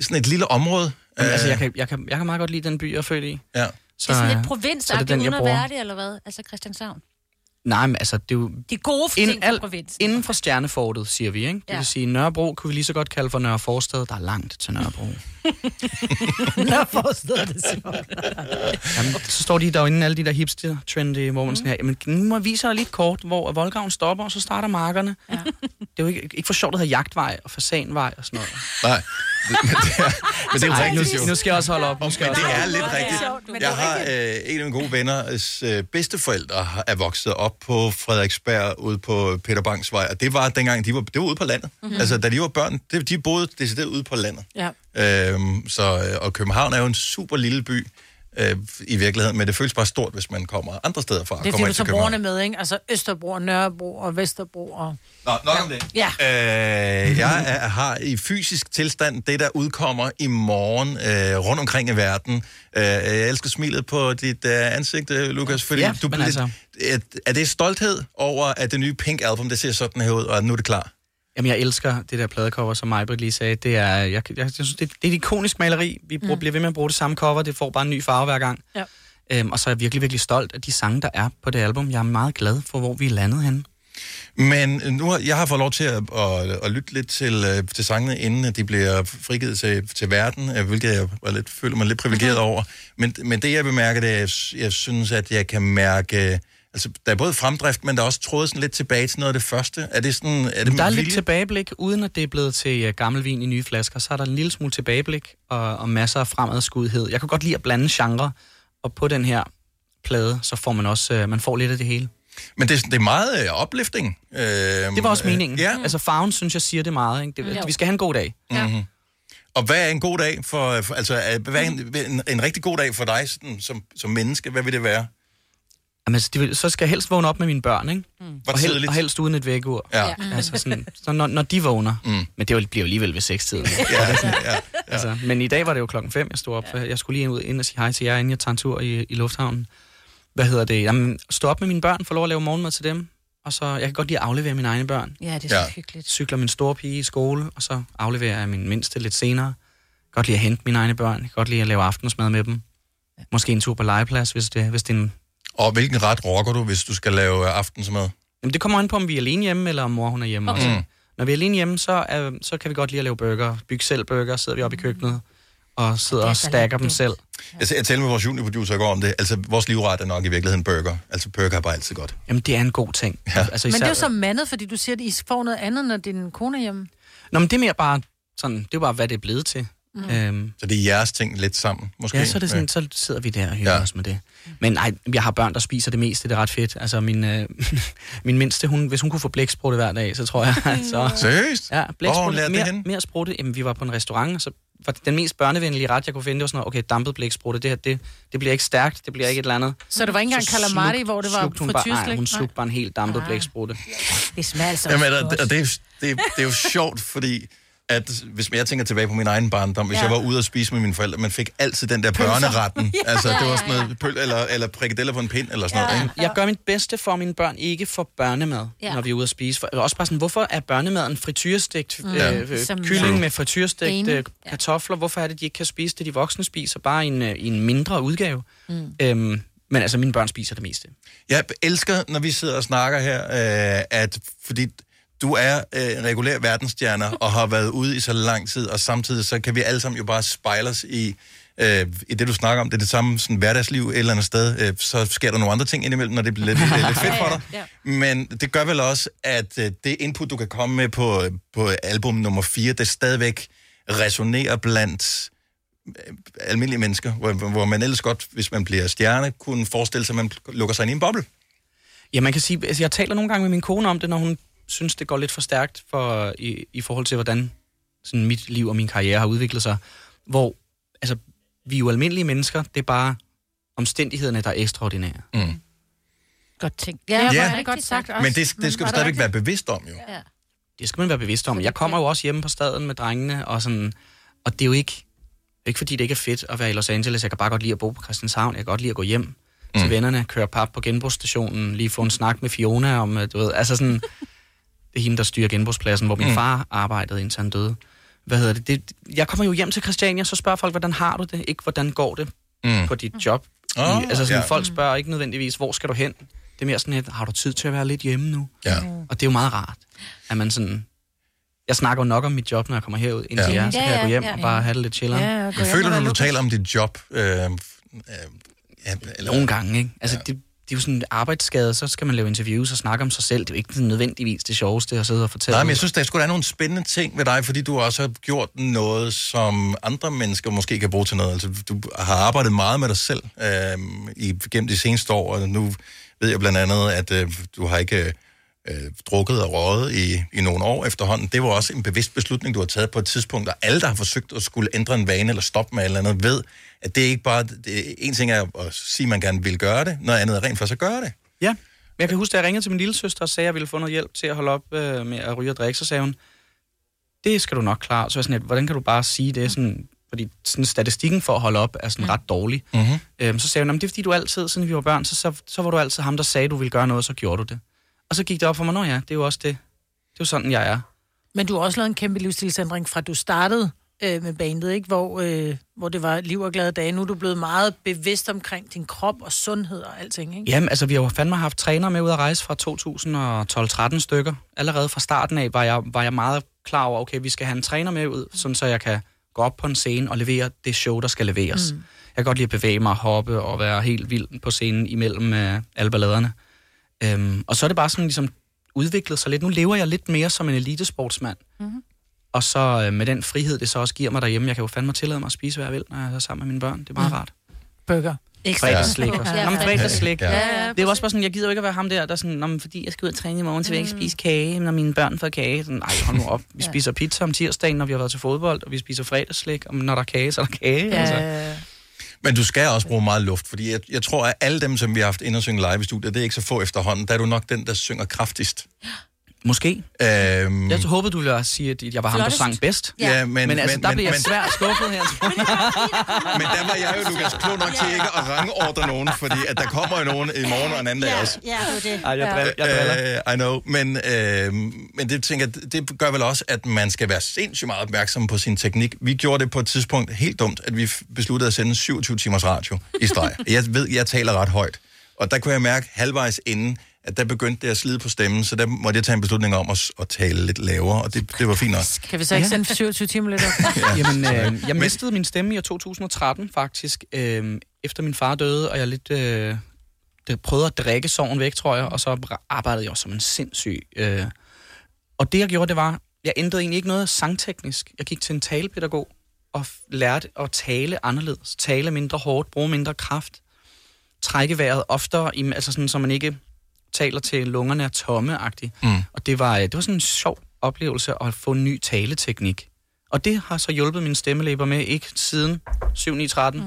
sådan et lille område? Jamen, altså, jeg kan, jeg, kan, jeg kan meget godt lide den by, jeg er født i. Ja. Det er sådan øh, lidt provins, så er det den, jeg uden at bruger. være det, eller hvad? Altså Christianshavn. Nej, men altså, det er jo... De gode ting Ind- al- Inden for Stjernefortet, siger vi, ikke? Det Ja. ja. vil sige, Nørrebro kunne vi lige så godt kalde for Nørre Forsted. Der er langt til Nørrebro. Nå, forstår det så. Jamen, så står de derinde, alle de der hipster-trendy, hvor man Mhm. sådan her, jamen, nu må jeg vise jer lige et kort, hvor voldgraven stopper, og så starter markerne. Ja. Det er jo ikke, ikke for sjovt, at hedder jagtvej og fasanvej og sådan noget. Øh, Nej. Men det er, men det er jo Ej, rigtigt, nu, jo. nu skal jeg også holde op. Nu skal Men jeg det også er holde lidt op. rigtigt. Jeg har øh, en af mine gode venners øh, bedsteforældre har- er vokset op på Frederiksberg ude på Peter Bangs vej, og det var dengang, de var, det var ude på landet. Mhm. Mm-hmm. Altså, da de var børn, det, de boede decideret ude på landet. Ja. Øhm, så, øh, og København er jo en super lille by øh, i virkeligheden, men det føles bare stort, hvis man kommer andre steder fra. Det er kommer fordi, du ind til tager København. brugerne med, ikke? Altså Østerbro, og Nørrebro og Vesterbro og... Nå, nok om det. Ja. Øh, jeg er, har i fysisk tilstand det, der udkommer i morgen øh, rundt omkring i verden. Øh, jeg elsker smilet på dit øh, ansigt, øh, Lukas, fordi Ja, du men blev... altså- Altså... Er, er det stolthed over, at det nye Pink-album, det ser sådan her ud, og nu er det klar? Jamen, jeg elsker det der pladecover, som Majbrit lige sagde. Det er, jeg, jeg, jeg synes, det, det er et ikonisk maleri. Vi bruger, Mm. mm. bliver ved med at bruge det samme cover. Det får bare en ny farve hver gang. Ja. Øhm, og så er jeg virkelig, virkelig stolt af de sange, der er på det album. Jeg er meget glad for, hvor vi er landet henne. Men nu har, jeg har fået lov til at, at, at lytte lidt til, øh, til sangene, inden at de bliver frigivet til, til verden, øh, hvilket jeg var lidt, føler mig lidt privilegeret Mhm. over. Men, men det, jeg bemærker, det er, jeg, s- jeg synes, at jeg kan mærke... Altså, der er både fremdrift, men der er også trådet sådan lidt tilbage til noget af det første. Er det sådan... Er det der er med lidt vilje? tilbageblik, uden at det er blevet til øh, gammel vin i nye flasker. Så er der en lille smule tilbageblik og, og masser af fremadskudighed. Jeg kan godt lide at blande genre, og på den her plade, så får man også øh, man får lidt af det hele. Men det, er sådan- det er meget øh, oplifting. Øh, Det var også øh, meningen. Ja. Altså farven, synes jeg, siger det meget. Ikke? Mm. Det, vi skal have en god dag. Mm-hmm. Og hvad er en god dag for... for altså, er- hvad er en, en, en rigtig god dag for dig sådan, som, som menneske? Hvad vil det være? Jamen, altså, det vil, så skal jeg helst vågne op med mine børn, ikke? Mm. Hvor Og, hel, tidligt? og helst uden et vækkeur. Ja. Altså sådan, så når, når de vågner. Mm. Men det er jo- bliver jo alligevel ved sekstiden. ja, ja, ja. Altså, men i dag var det jo klokken 5, jeg stod op. Ja. Jeg skulle lige ud ind og sige hej til jer, inden jeg tager en tur i, i lufthavnen. Hvad hedder det? Jamen, stå op med mine børn, få lov at lave morgenmad til dem. Og så, jeg kan godt lide at aflevere mine egne børn. Ja, det er så Ja. hyggeligt. Cykler min store pige i skole, og så afleverer jeg min mindste lidt senere. Godt lide at hente mine egne børn. Jeg kan godt lide at lave aftensmad med dem. Måske en tur på legeplads, hvis det, hvis det er en Og hvilken ret rocker du, hvis du skal lave øh, aftensmad? Jamen, det kommer an på, om vi er alene hjemme, eller om mor hun er hjemme Okay. okay. også. Mm. Når vi er alene hjemme, så, er, så kan vi godt lide at lave burger. Bygge selv burger, sidder vi oppe i køkkenet og sidder og stacker dem selv. Jeg, jeg talte med vores juniorproducer i går om det. Altså, vores livret er nok i virkeligheden burger. Altså, burger er bare altid godt. Jamen, det er en god ting. Ja. Altså, Men det er jo især- så mandet, fordi du siger, at I får noget andet, når din kone er hjemme. Nå, men det er mere bare sådan, det er jo bare, hvad det er blevet til. Mm. Mm. Øhm, så det er jeres ting lidt sammen, måske? Ja, så, er det sådan, Ja. så sidder vi der og hygger ja. os med det. Men nej, jeg har børn, der spiser det meste, det er ret fedt. Altså, min, øh, min mindste, hun, hvis hun kunne få blæksprutte hver dag, så tror jeg... Så, Seriøst? Ja, Hvor har hun blæksprutte. lært det mere, henne? mere sprutte. Jamen, vi var på en restaurant, og så var det den mest børnevenlige ret, jeg kunne finde, det var sådan noget, okay, dampet blæksprutte, det her, det, det bliver ikke stærkt, det bliver ikke et eller andet. Så det var ikke engang calamari, hvor det var slugte hun bare, nej, frityreslik? hun Nej. slugte bare en helt Ah. dampet blæksprutte. Det smager altså Jamen, også og, godt. og det, er jo- det, det er jo sjovt, fordi at hvis jeg tænker tilbage på min egen barndom, hvis Ja. ja. jeg var ude at spise med mine forældre, man fik altid den der Pølser. børneretten. Ja. Altså, det var sådan noget pøl, eller, eller prikadeller på en pind, eller sådan ja. noget. Ikke? Jeg gør mit bedste for, at mine børn ikke får børnemad, Ja. ja. når vi er ude at spise. For, eller også bare sådan, hvorfor er børnemaden frityrestegt Mm. mm. Ja. øh, Som- øh, kylling Ja. med frityrestegt Enig. øh, kartofler? Hvorfor er det, de ikke kan spise det, de voksne spiser, bare i en, øh, i en mindre udgave? Mm. Mm. Øhm, men altså, mine børn spiser det meste. Jeg elsker, når vi sidder og snakker her, øh, at fordi du er øh, regulær verdensstjerne og har været ude i så lang tid, og samtidig så kan vi alle sammen jo bare spejle os i, øh, i det, du snakker om. Det er det samme sådan, hverdagsliv et eller andet sted. Øh, så sker der nogle andre ting indimellem, når det bliver lidt, øh, lidt, lidt fedt for dig. Men det gør vel også, at øh, det input, du kan komme med på, øh, på album nummer 4, det stadigvæk resonerer blandt øh, almindelige mennesker, hvor, hvor man ellers godt, hvis man bliver stjerne, kunne forestille sig, at man lukker sig ind i en boble. Ja, man kan sige, altså, jeg taler nogle gange med min kone om det, når hun synes, det går lidt for stærkt for, i, i forhold til, hvordan sådan mit liv og min karriere har udviklet sig. Hvor, altså, vi er jo almindelige mennesker, det er bare omstændighederne, der er ekstraordinære. Mm. Godt ting. Ja, ja. Ja. Hvor er det godt sagt også. Mm. Men det- det skal var du stadigvæk rigtigt? Være bevidst om, jo. Ja. Det skal man være bevidst om. Jeg kommer jo også hjemme på staden med drengene, og, sådan, og det er jo ikke, ikke fordi det ikke er fedt at være i Los Angeles. Jeg kan bare godt lide at bo på Christianshavn. Jeg kan godt lide at gå hjem mm. til vennerne, køre pap på genbrugsstationen, lige få en snak med Fiona om, øh, du ved, altså sådan, det er hende, der styrer genbrugspladsen, hvor min Mm. mm. far arbejdede, indtil han døde. Hvad hedder det? det? Jeg kommer jo hjem til Christiania, så spørger folk, hvordan har du det? Ikke, hvordan går det Mm. på dit job? Åh, I, altså sådan, ja. Mm. folk spørger ikke nødvendigvis, hvor skal du hen? Det er mere sådan et, har du tid til at være lidt hjemme nu? Ja. Og det er jo meget rart, at man sådan... Jeg snakker jo nok om mit job, når jeg kommer herud indtil Ja. ja. jer, så Ja, kan jeg ja, gå hjem ja, og ja. bare have det lidt chilleren. Ja, ja, gå Men hjem og føler du, være når du Lukas. taler om dit job? Øh, øh, eller... Nogle gange, ikke? Altså, ja. det, det er jo sådan en arbejdsskade, så skal man lave interviews og snakke om sig selv. Det er jo ikke sådan nødvendigvis det sjoveste at sidde og fortælle. Nej, men jeg synes, der skulle være nogle spændende ting ved dig, fordi du også har gjort noget, som andre mennesker måske kan bruge til noget. Altså, du har arbejdet meget med dig selv øh, i, gennem de seneste år, og nu ved jeg blandt andet, at øh, du har ikke øh, drukket og røget i, i nogle år efterhånden. Det var også en bevidst beslutning, du har taget på et tidspunkt, og alle, der har forsøgt at skulle ændre en vane eller stoppe med et eller andet, ved, at det er ikke bare... Det, en ting er at sige, at man gerne vil gøre det, noget andet er rent faktisk at gøre det. Ja, men jeg kan huske, da jeg ringede til min lille søster og sagde, at jeg ville få noget hjælp til at holde op øh, med at ryge og drikke, så sagde hun, det skal du nok klare. Så var jeg sådan, lidt, hvordan kan du bare sige det? Sådan, fordi sådan, statistikken for at holde op er sådan ret dårlig. Mm-hmm. Øhm, så sagde hun, "Nå, men det er fordi du altid, siden vi var børn, så, så, så var du altid ham, der sagde, du ville gøre noget, og så gjorde du det. Og så gik det op for mig, nå ja, det er jo også det. Det er jo sådan, jeg er. Men du har også lavet en kæmpe livsstilsændring fra du startede øh, med bandet, ikke? Hvor, øh, hvor det var liv og glade dage. Nu er du blevet meget bevidst omkring din krop og sundhed og alting, ikke? Jamen, altså, vi har jo fandme haft trænere med ud at rejse fra 2012-13 stykker. Allerede fra starten af var jeg, var jeg meget klar over, okay, vi skal have en træner med ud, sådan så jeg kan gå op på en scene og levere det show, der skal leveres. Mm. Mm. Jeg kan godt lide at bevæge mig og hoppe og være helt vild på scenen imellem øh, alle balladerne. Øhm, og så er det bare sådan ligesom udviklet sig lidt. Nu lever jeg lidt mere som en elitesportsmand. Mhm. Mm-hmm. Og så øh, med den frihed, det så også giver mig derhjemme, jeg kan jo fandme tillade mig at spise, hvad jeg vil, når jeg er sammen med mine børn. Det er meget Mm. rart. Burger. Fredagsslik. Ja. og Ja. sådan. Nå, men fredagsslik. Ja. Ja, ja, Det er jo også bare sådan, jeg gider jo ikke at være ham der, der sådan, Nå, men fordi jeg skal ud og træne i morgen, så vil jeg ikke spise kage, når mine børn får kage. Sådan, Ej, hold nu op. Vi Mm. Ja. spiser pizza om tirsdagen, når vi har været til fodbold, og vi spiser fredagsslik, og når der er kage, så er der kage. Altså. Ja. Men du skal også bruge meget luft, fordi jeg, jeg tror, at alle dem, som vi har haft ind og synge live i studiet, det er ikke så få efterhånden. Der er du nok den, der synger kraftigst. Måske. Øhm, Jeg håbede, du ville sige, at jeg var ham, der Flottest. sang bedst. Ja. Ja, men- men altså, men- der men- blev jeg men- svært skuffet her. men der var jeg jo, Lukas, klog nok til ikke at rangordre nogen, fordi at der kommer jo nogen i morgen og en anden dag også. Ja, det er det. Ej, jeg driller. Jeg Øh, I know, men, øh, men det, tænker, jeg, det gør vel også, at man skal være sindssygt meget opmærksom på sin teknik. Vi gjorde det på et tidspunkt helt dumt, at vi f- besluttede at sende 27 timers radio i streg. Jeg ved, jeg taler ret højt. Og der kunne jeg mærke halvvejs inden, at der begyndte det at slide på stemmen, så der måtte jeg tage en beslutning om at, s- at tale lidt lavere, og det, det var fint nok. Kan vi så ikke Ja. sende 27 timer lidt op? Ja. Jamen, øh, jeg mistede min stemme i år 2013 faktisk, øh, efter min far døde, og jeg lidt øh, det, prøvede at drikke sorgen væk, tror jeg, og så ra- arbejdede jeg også som en sindssyg. Øh. Og det jeg gjorde, det var, jeg ændrede egentlig ikke noget sangteknisk. Jeg gik til en talepædagog og f- lærte at tale anderledes, tale mindre hårdt, bruge mindre kraft, trække vejret oftere, i- altså sådan, så man ikke taler til lungerne er tomme-agtigt. Mm. Og det var, øh, det var sådan en sjov oplevelse at få en ny taleteknik. Og det har så hjulpet min stemmelæber med, ikke siden 7.9.13,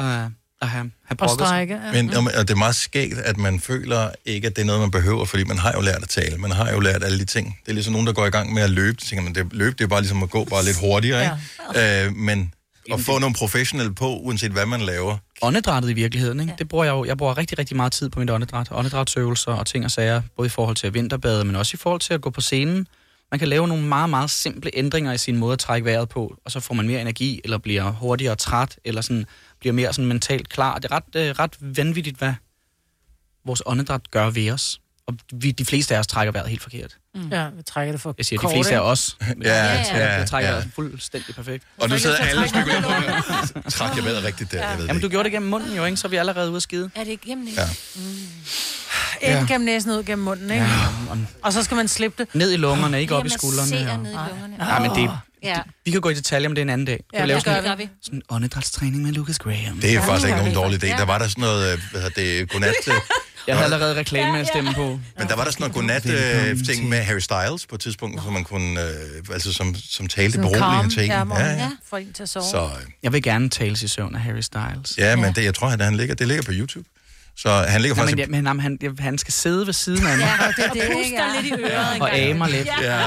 mm. øh, at have, have brokket sig. Men, og, og det er meget skægt, at man føler ikke, at det er noget, man behøver, fordi man har jo lært at tale. Man har jo lært alle de ting. Det er ligesom nogen, der går i gang med at løbe. Så tænker man, det, løb, det er bare ligesom at gå bare lidt hurtigere, ikke? Ja. Øh, men at få nogle professionelle på, uanset hvad man laver. Åndedrættet i virkeligheden, ikke? Ja. det bruger jeg jo. Jeg bruger rigtig, rigtig meget tid på mit åndedræt. Åndedrætsøvelser og ting og sager, både i forhold til at vinterbade, men også i forhold til at gå på scenen. Man kan lave nogle meget, meget simple ændringer i sin måde at trække vejret på, og så får man mere energi, eller bliver hurtigere træt, eller sådan, bliver mere sådan mentalt klar. Det er ret, øh, ret vanvittigt, hvad vores åndedræt gør ved os. Og vi, de fleste af os trækker vejret helt forkert. Ja, vi trækker det for Jeg siger, kort, de fleste af ikke? os. men Ja, jeg trækker- ja, Jeg trækker ja. vejret fuldstændig perfekt. Og nu sidder alle og spekulerer på, om jeg- trak jeg vejret rigtigt der. Jeg ved det Jamen, du gjorde det gennem munden jo, ikke? Så er vi allerede ude at skide. Er det ikke gennem Ja. Mm. Ind gennem næsen, ud gennem munden, ikke? om- Og så skal man slippe det. Ned i lungerne, ikke op i skuldrene. massere og- ned i lungerne. Nej, men det, Ja. vi kan gå i detaljer om det en anden dag. Ja, vi lave det gør sådan, vi. Sådan en åndedrætstræning med Lucas Graham. Det er faktisk ikke nogen dårlig idé. Der var der sådan noget, øh, hvad hedder det, godnat... øh, Jeg havde allerede reklame med at stemme på. Men der var der sådan noget godnat-ting med Harry Styles på et tidspunkt, som man kunne, øh, altså som, som talte beroligende ting. Ja, hvor man får en til at sove. Så, øh, Jeg vil gerne tales i søvn af Harry Styles. ja, men det, jeg tror, at han ligger, det ligger på YouTube. Så han ligger Nej, faktisk... men, ja, men, jamen, han, ja, han skal sidde ved siden af mig. Ja, og det er det, ikke? puster lidt i øret Ja. en Og gang. amer lidt. Ja,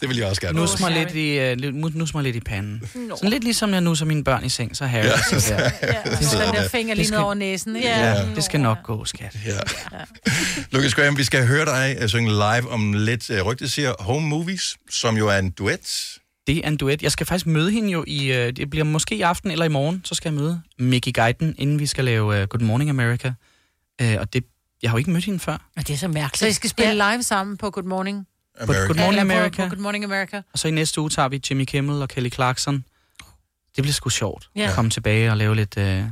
det vil jeg også gerne. Nus mig lidt i, øh, lidt- mu- nus mig lidt i panden. Sådan lidt ligesom jeg nusser mine børn i seng, så Harry. Ja. Ja. Så der. Ja. Det skal- Den der finger det lige skal- ned over næsen, ikke? Ja, det skal nok gå, skat. Ja. Lucas Graham, vi skal høre dig øh, synge live om lidt. Øh, Rygtet siger Home Movies, som jo er en duet. Det er en duet. Jeg skal faktisk møde hende jo i, øh, det bliver måske i aften eller i morgen, så skal jeg møde Mickey Guyton, inden vi skal lave øh, Good Morning America. Øh, og det jeg har jo ikke mødt hende før. Og det er så mærkeligt. Så I skal spille live sammen på Good Morning? På Good Morning Eller på- America. På Good Morning America. Og så i næste uge tager vi Jimmy Kimmel og Kelly Clarkson. Det bliver sgu sjovt Ja. at komme tilbage og lave lidt... Øh, Vi,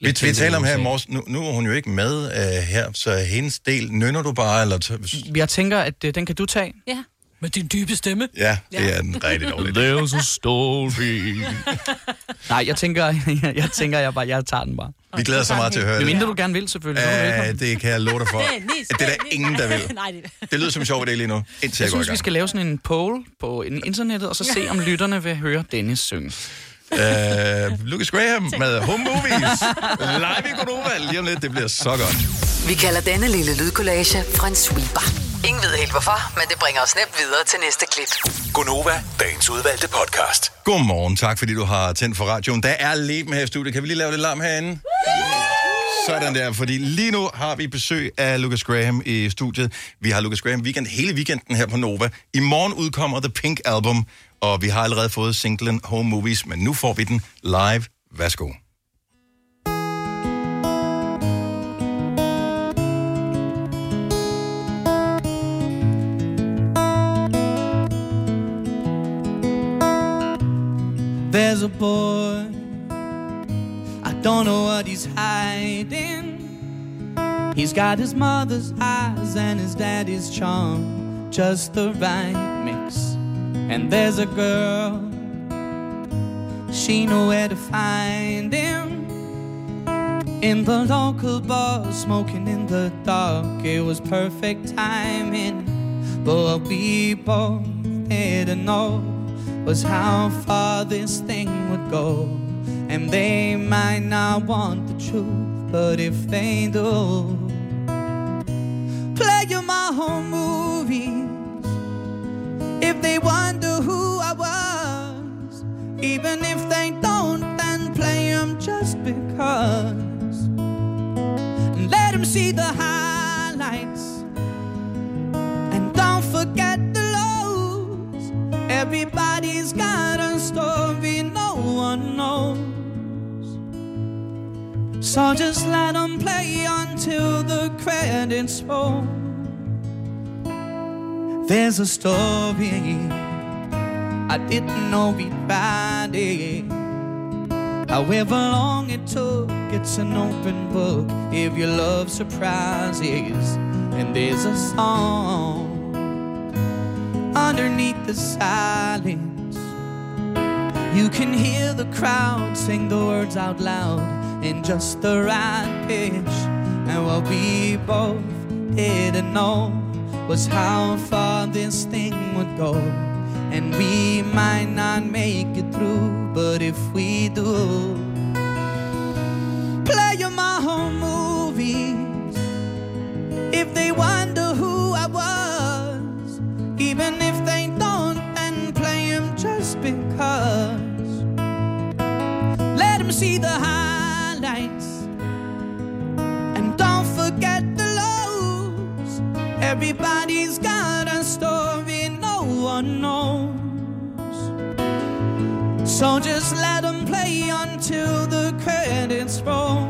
lidt vi taler om her i USA. morges, nu, nu er hun jo ikke med øh, her, så hendes del nynner du bare, eller... T- Jeg tænker, at øh, den kan du tage. Ja. Med din dybe stemme. ja, det er den rigtig dårligt. There's a story. Nej, jeg tænker, jeg, jeg tænker, jeg bare, jeg tager den bare. Vi glæder os så meget til at høre det. det. mindre du gerne vil, selvfølgelig. så er du Ja, velkommen. det kan jeg love dig for. Det er nis, Det er der ingen, der vil. Nej, det... Det lyder som en sjov idé lige nu, indtil jeg, Jeg går i synes, vi gang. skal lave sådan en poll på in- internettet, og så se, om lytterne vil høre Dennis synge. Øh, Lucas Graham med Home Movies. Live i Godova. Lige om lidt, det bliver så godt. Vi kalder denne lille lydkollage en sweeper. Ingen ved helt hvorfor, men det bringer os nemt videre til næste klip. Gonova, dagens udvalgte podcast. Godmorgen, tak fordi du har tændt for radioen. Der er leben her i studiet. Kan vi lige lave lidt larm herinde? Sådan der, fordi lige nu har vi besøg af Lucas Graham i studiet. Vi har Lucas Graham weekend hele weekenden her på Nova. I morgen udkommer The Pink Album, og vi har allerede fået singlen Home Movies, men nu får vi den live. Værsgo. There's a boy, I don't know what he's hiding. He's got his mother's eyes and his daddy's charm, just the right mix. And there's a girl, she know where to find him. In the local bar, smoking in the dark, it was perfect timing. But what we both didn't know was how far this thing would go. And they might not want the truth, but if they do, play you my home movies. If they wonder who I was, even if they don't, then play 'em just because. And let 'em see the highlights. And don't forget the lows. Everybody's got a story no one knows. so just let them play until the credits roll. There's a story I didn't know we'd find it. However long it took, it's an open book if you love surprises. And there's a song underneath the silence. You can hear the crowd sing the words out loud in just the right pitch. And what we both didn't know was how far this thing would go. And we might not make it through, but if we do, play in my home movies. If they wonder who I was, even if they don't, then play 'em just because. Let 'em see the highlights and don't forget the lows. Everybody's got a story no one knows. So just let 'em play until the credits roll.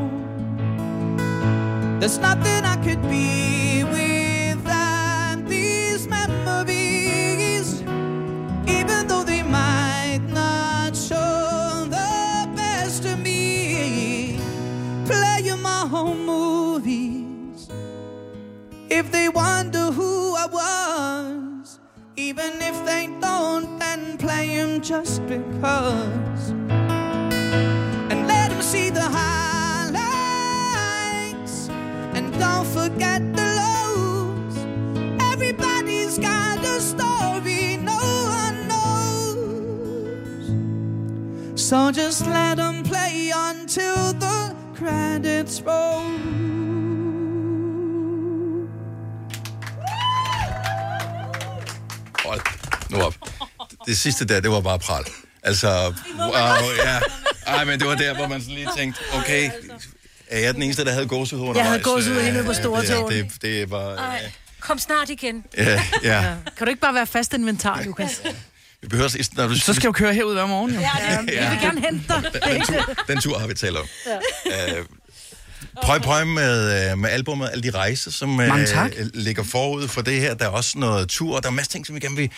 There's nothing I could be without these memories, even though they might not show the best of me. Play in my home movies. If they wonder who I was, even if they don't, then play 'em just because. And let 'em see the highlights. And don't forget the lows. Everybody's got a story no one knows. So just let 'em play until the credits roll. Hold nu op. Det sidste der, det var bare pral. Altså, wow, ja. Ej, men det var der, hvor man sådan lige tænkte, okay, er jeg den eneste, der havde gåsehud undervejs? havde gåsehud Øh, helt ude på Stortorvet. Det, det, det var... Ej, kom snart igen. Ja, ja. Kan du ikke bare være fast inventar, Lukas? Vi behøver, når du, Så skal jeg jo køre herud hver morgen, jo. Ja, det- Ja. vi vil gerne hente dig. den, tur, den tur har vi talt om. Øh, Pøj, pøj med, øh, med albumet, alle de rejser, som øh, Mange tak. ligger forud for det her. Der er også noget tur, og der er masser ting, som vi gerne vil...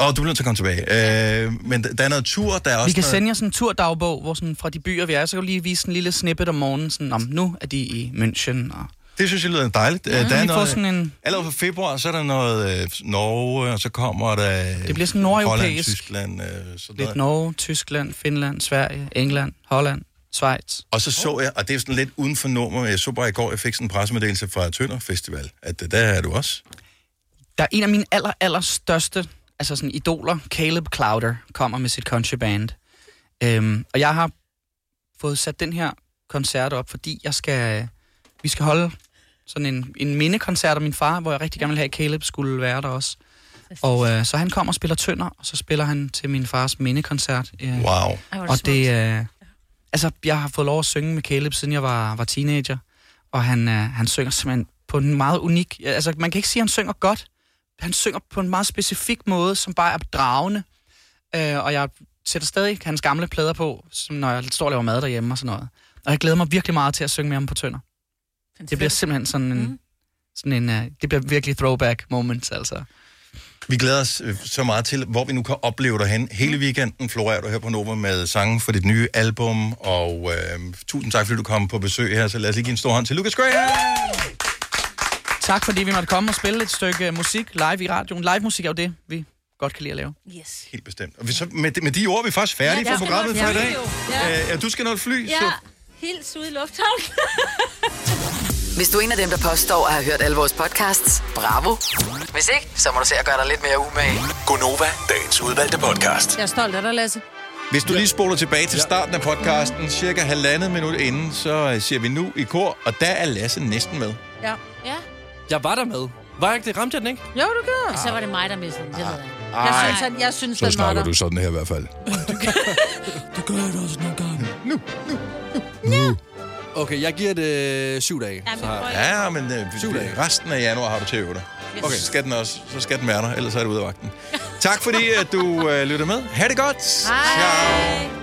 Åh, du bliver nødt til at komme tilbage. Øh, men der der er noget tur, der er også Vi kan noget... sende jer sådan en turdagbog hvor sådan, fra de byer, vi er, så kan du lige vise en lille snippet om morgenen, sådan, om nu er de i München. Og... Det synes jeg lyder dejligt. Ja, der er lige få noget, sådan en- Allerede fra februar, så er der noget øh, Norge, og så kommer der... øh, Det bliver sådan nordeuropæisk. Holland, Tyskland, øh, sådan Lidt Norge, Tyskland, Finland, Sverige, England, Holland, Schweiz. Og så så jeg, og det er sådan lidt uden for nummer, men jeg så bare i går, jeg fik sådan en pressemeddelelse fra Tønder Festival, at øh, der er du også. Der er en af mine aller, aller største altså sådan idoler, Caleb Clouder, kommer med sit countryband. Øhm, og jeg har fået sat den her koncert op, fordi jeg skal, vi skal holde sådan en, en mindekoncert af min far, hvor jeg rigtig gerne vil have, at Caleb skulle være der også. Og øh, så han kommer og spiller tønder, og så spiller han til min fars mindekoncert. Øh. Wow. Ej, hvor er det og det, øh, altså, jeg har fået lov at synge med Caleb, siden jeg var, var teenager. Og han, øh, han synger simpelthen på en meget unik... ja, Altså, man kan ikke sige, at han synger godt. Han synger på en meget specifik måde, som bare er dragende. Øh, og jeg sætter stadig hans gamle plader på, som når jeg står og laver mad derhjemme og sådan noget. Og jeg glæder mig virkelig meget til at synge med ham på tønder. Det bliver simpelthen sådan en... Mm. Sådan en øh, det bliver virkelig throwback moments, altså. Vi glæder os øh, så meget til, hvor vi nu kan opleve dig hen. Hele weekenden florerer du her på Nova med sange for dit nye album, og øh, tusind tak, fordi du kom på besøg her, så lad os lige give en stor hånd til Lucas Graham! Tak fordi vi måtte komme og spille et stykke øh, musik live i radioen. Live musik er jo det, vi godt kan lide at lave. Yes. Helt bestemt. Og vi så, med, de- med de ord er vi faktisk færdige Ja, ja, jeg for skal programmet nok for i fly dag. jo. Ja. Ja. Øh, ja, du skal nå et fly, Ja, så helt ude i lufthavnen. Hvis du er en af dem, der påstår at have hørt alle vores podcasts, bravo. Hvis ikke, så må du se at gøre dig lidt mere umage. Gonova, dagens udvalgte podcast. Jeg er stolt af dig, Lasse. Hvis du lige spoler tilbage til starten af podcasten, cirka halvandet minut inden, så øh, siger vi nu i kor, og der er Lasse næsten med. Ja. ja. Jeg var der med. Var jeg ikke det? Ramte jeg den ikke? Jo, du gør. Så var det mig, der mistede den. Det ved jeg. Jeg Ej. synes, han, jeg synes den var der. sådan her i hvert fald. Det gør jeg da også nogle gange. Nu, nu, nu. Okay, jeg giver det øh, syv dage. Så har- Ja, men øh, Syv dage. resten af januar har du til at øve dig. Yes. Okay, så skal den også. Så skal den være der, ellers er det ude af vagten. Tak fordi at du øh, lytter med. Ha' det godt. Hej.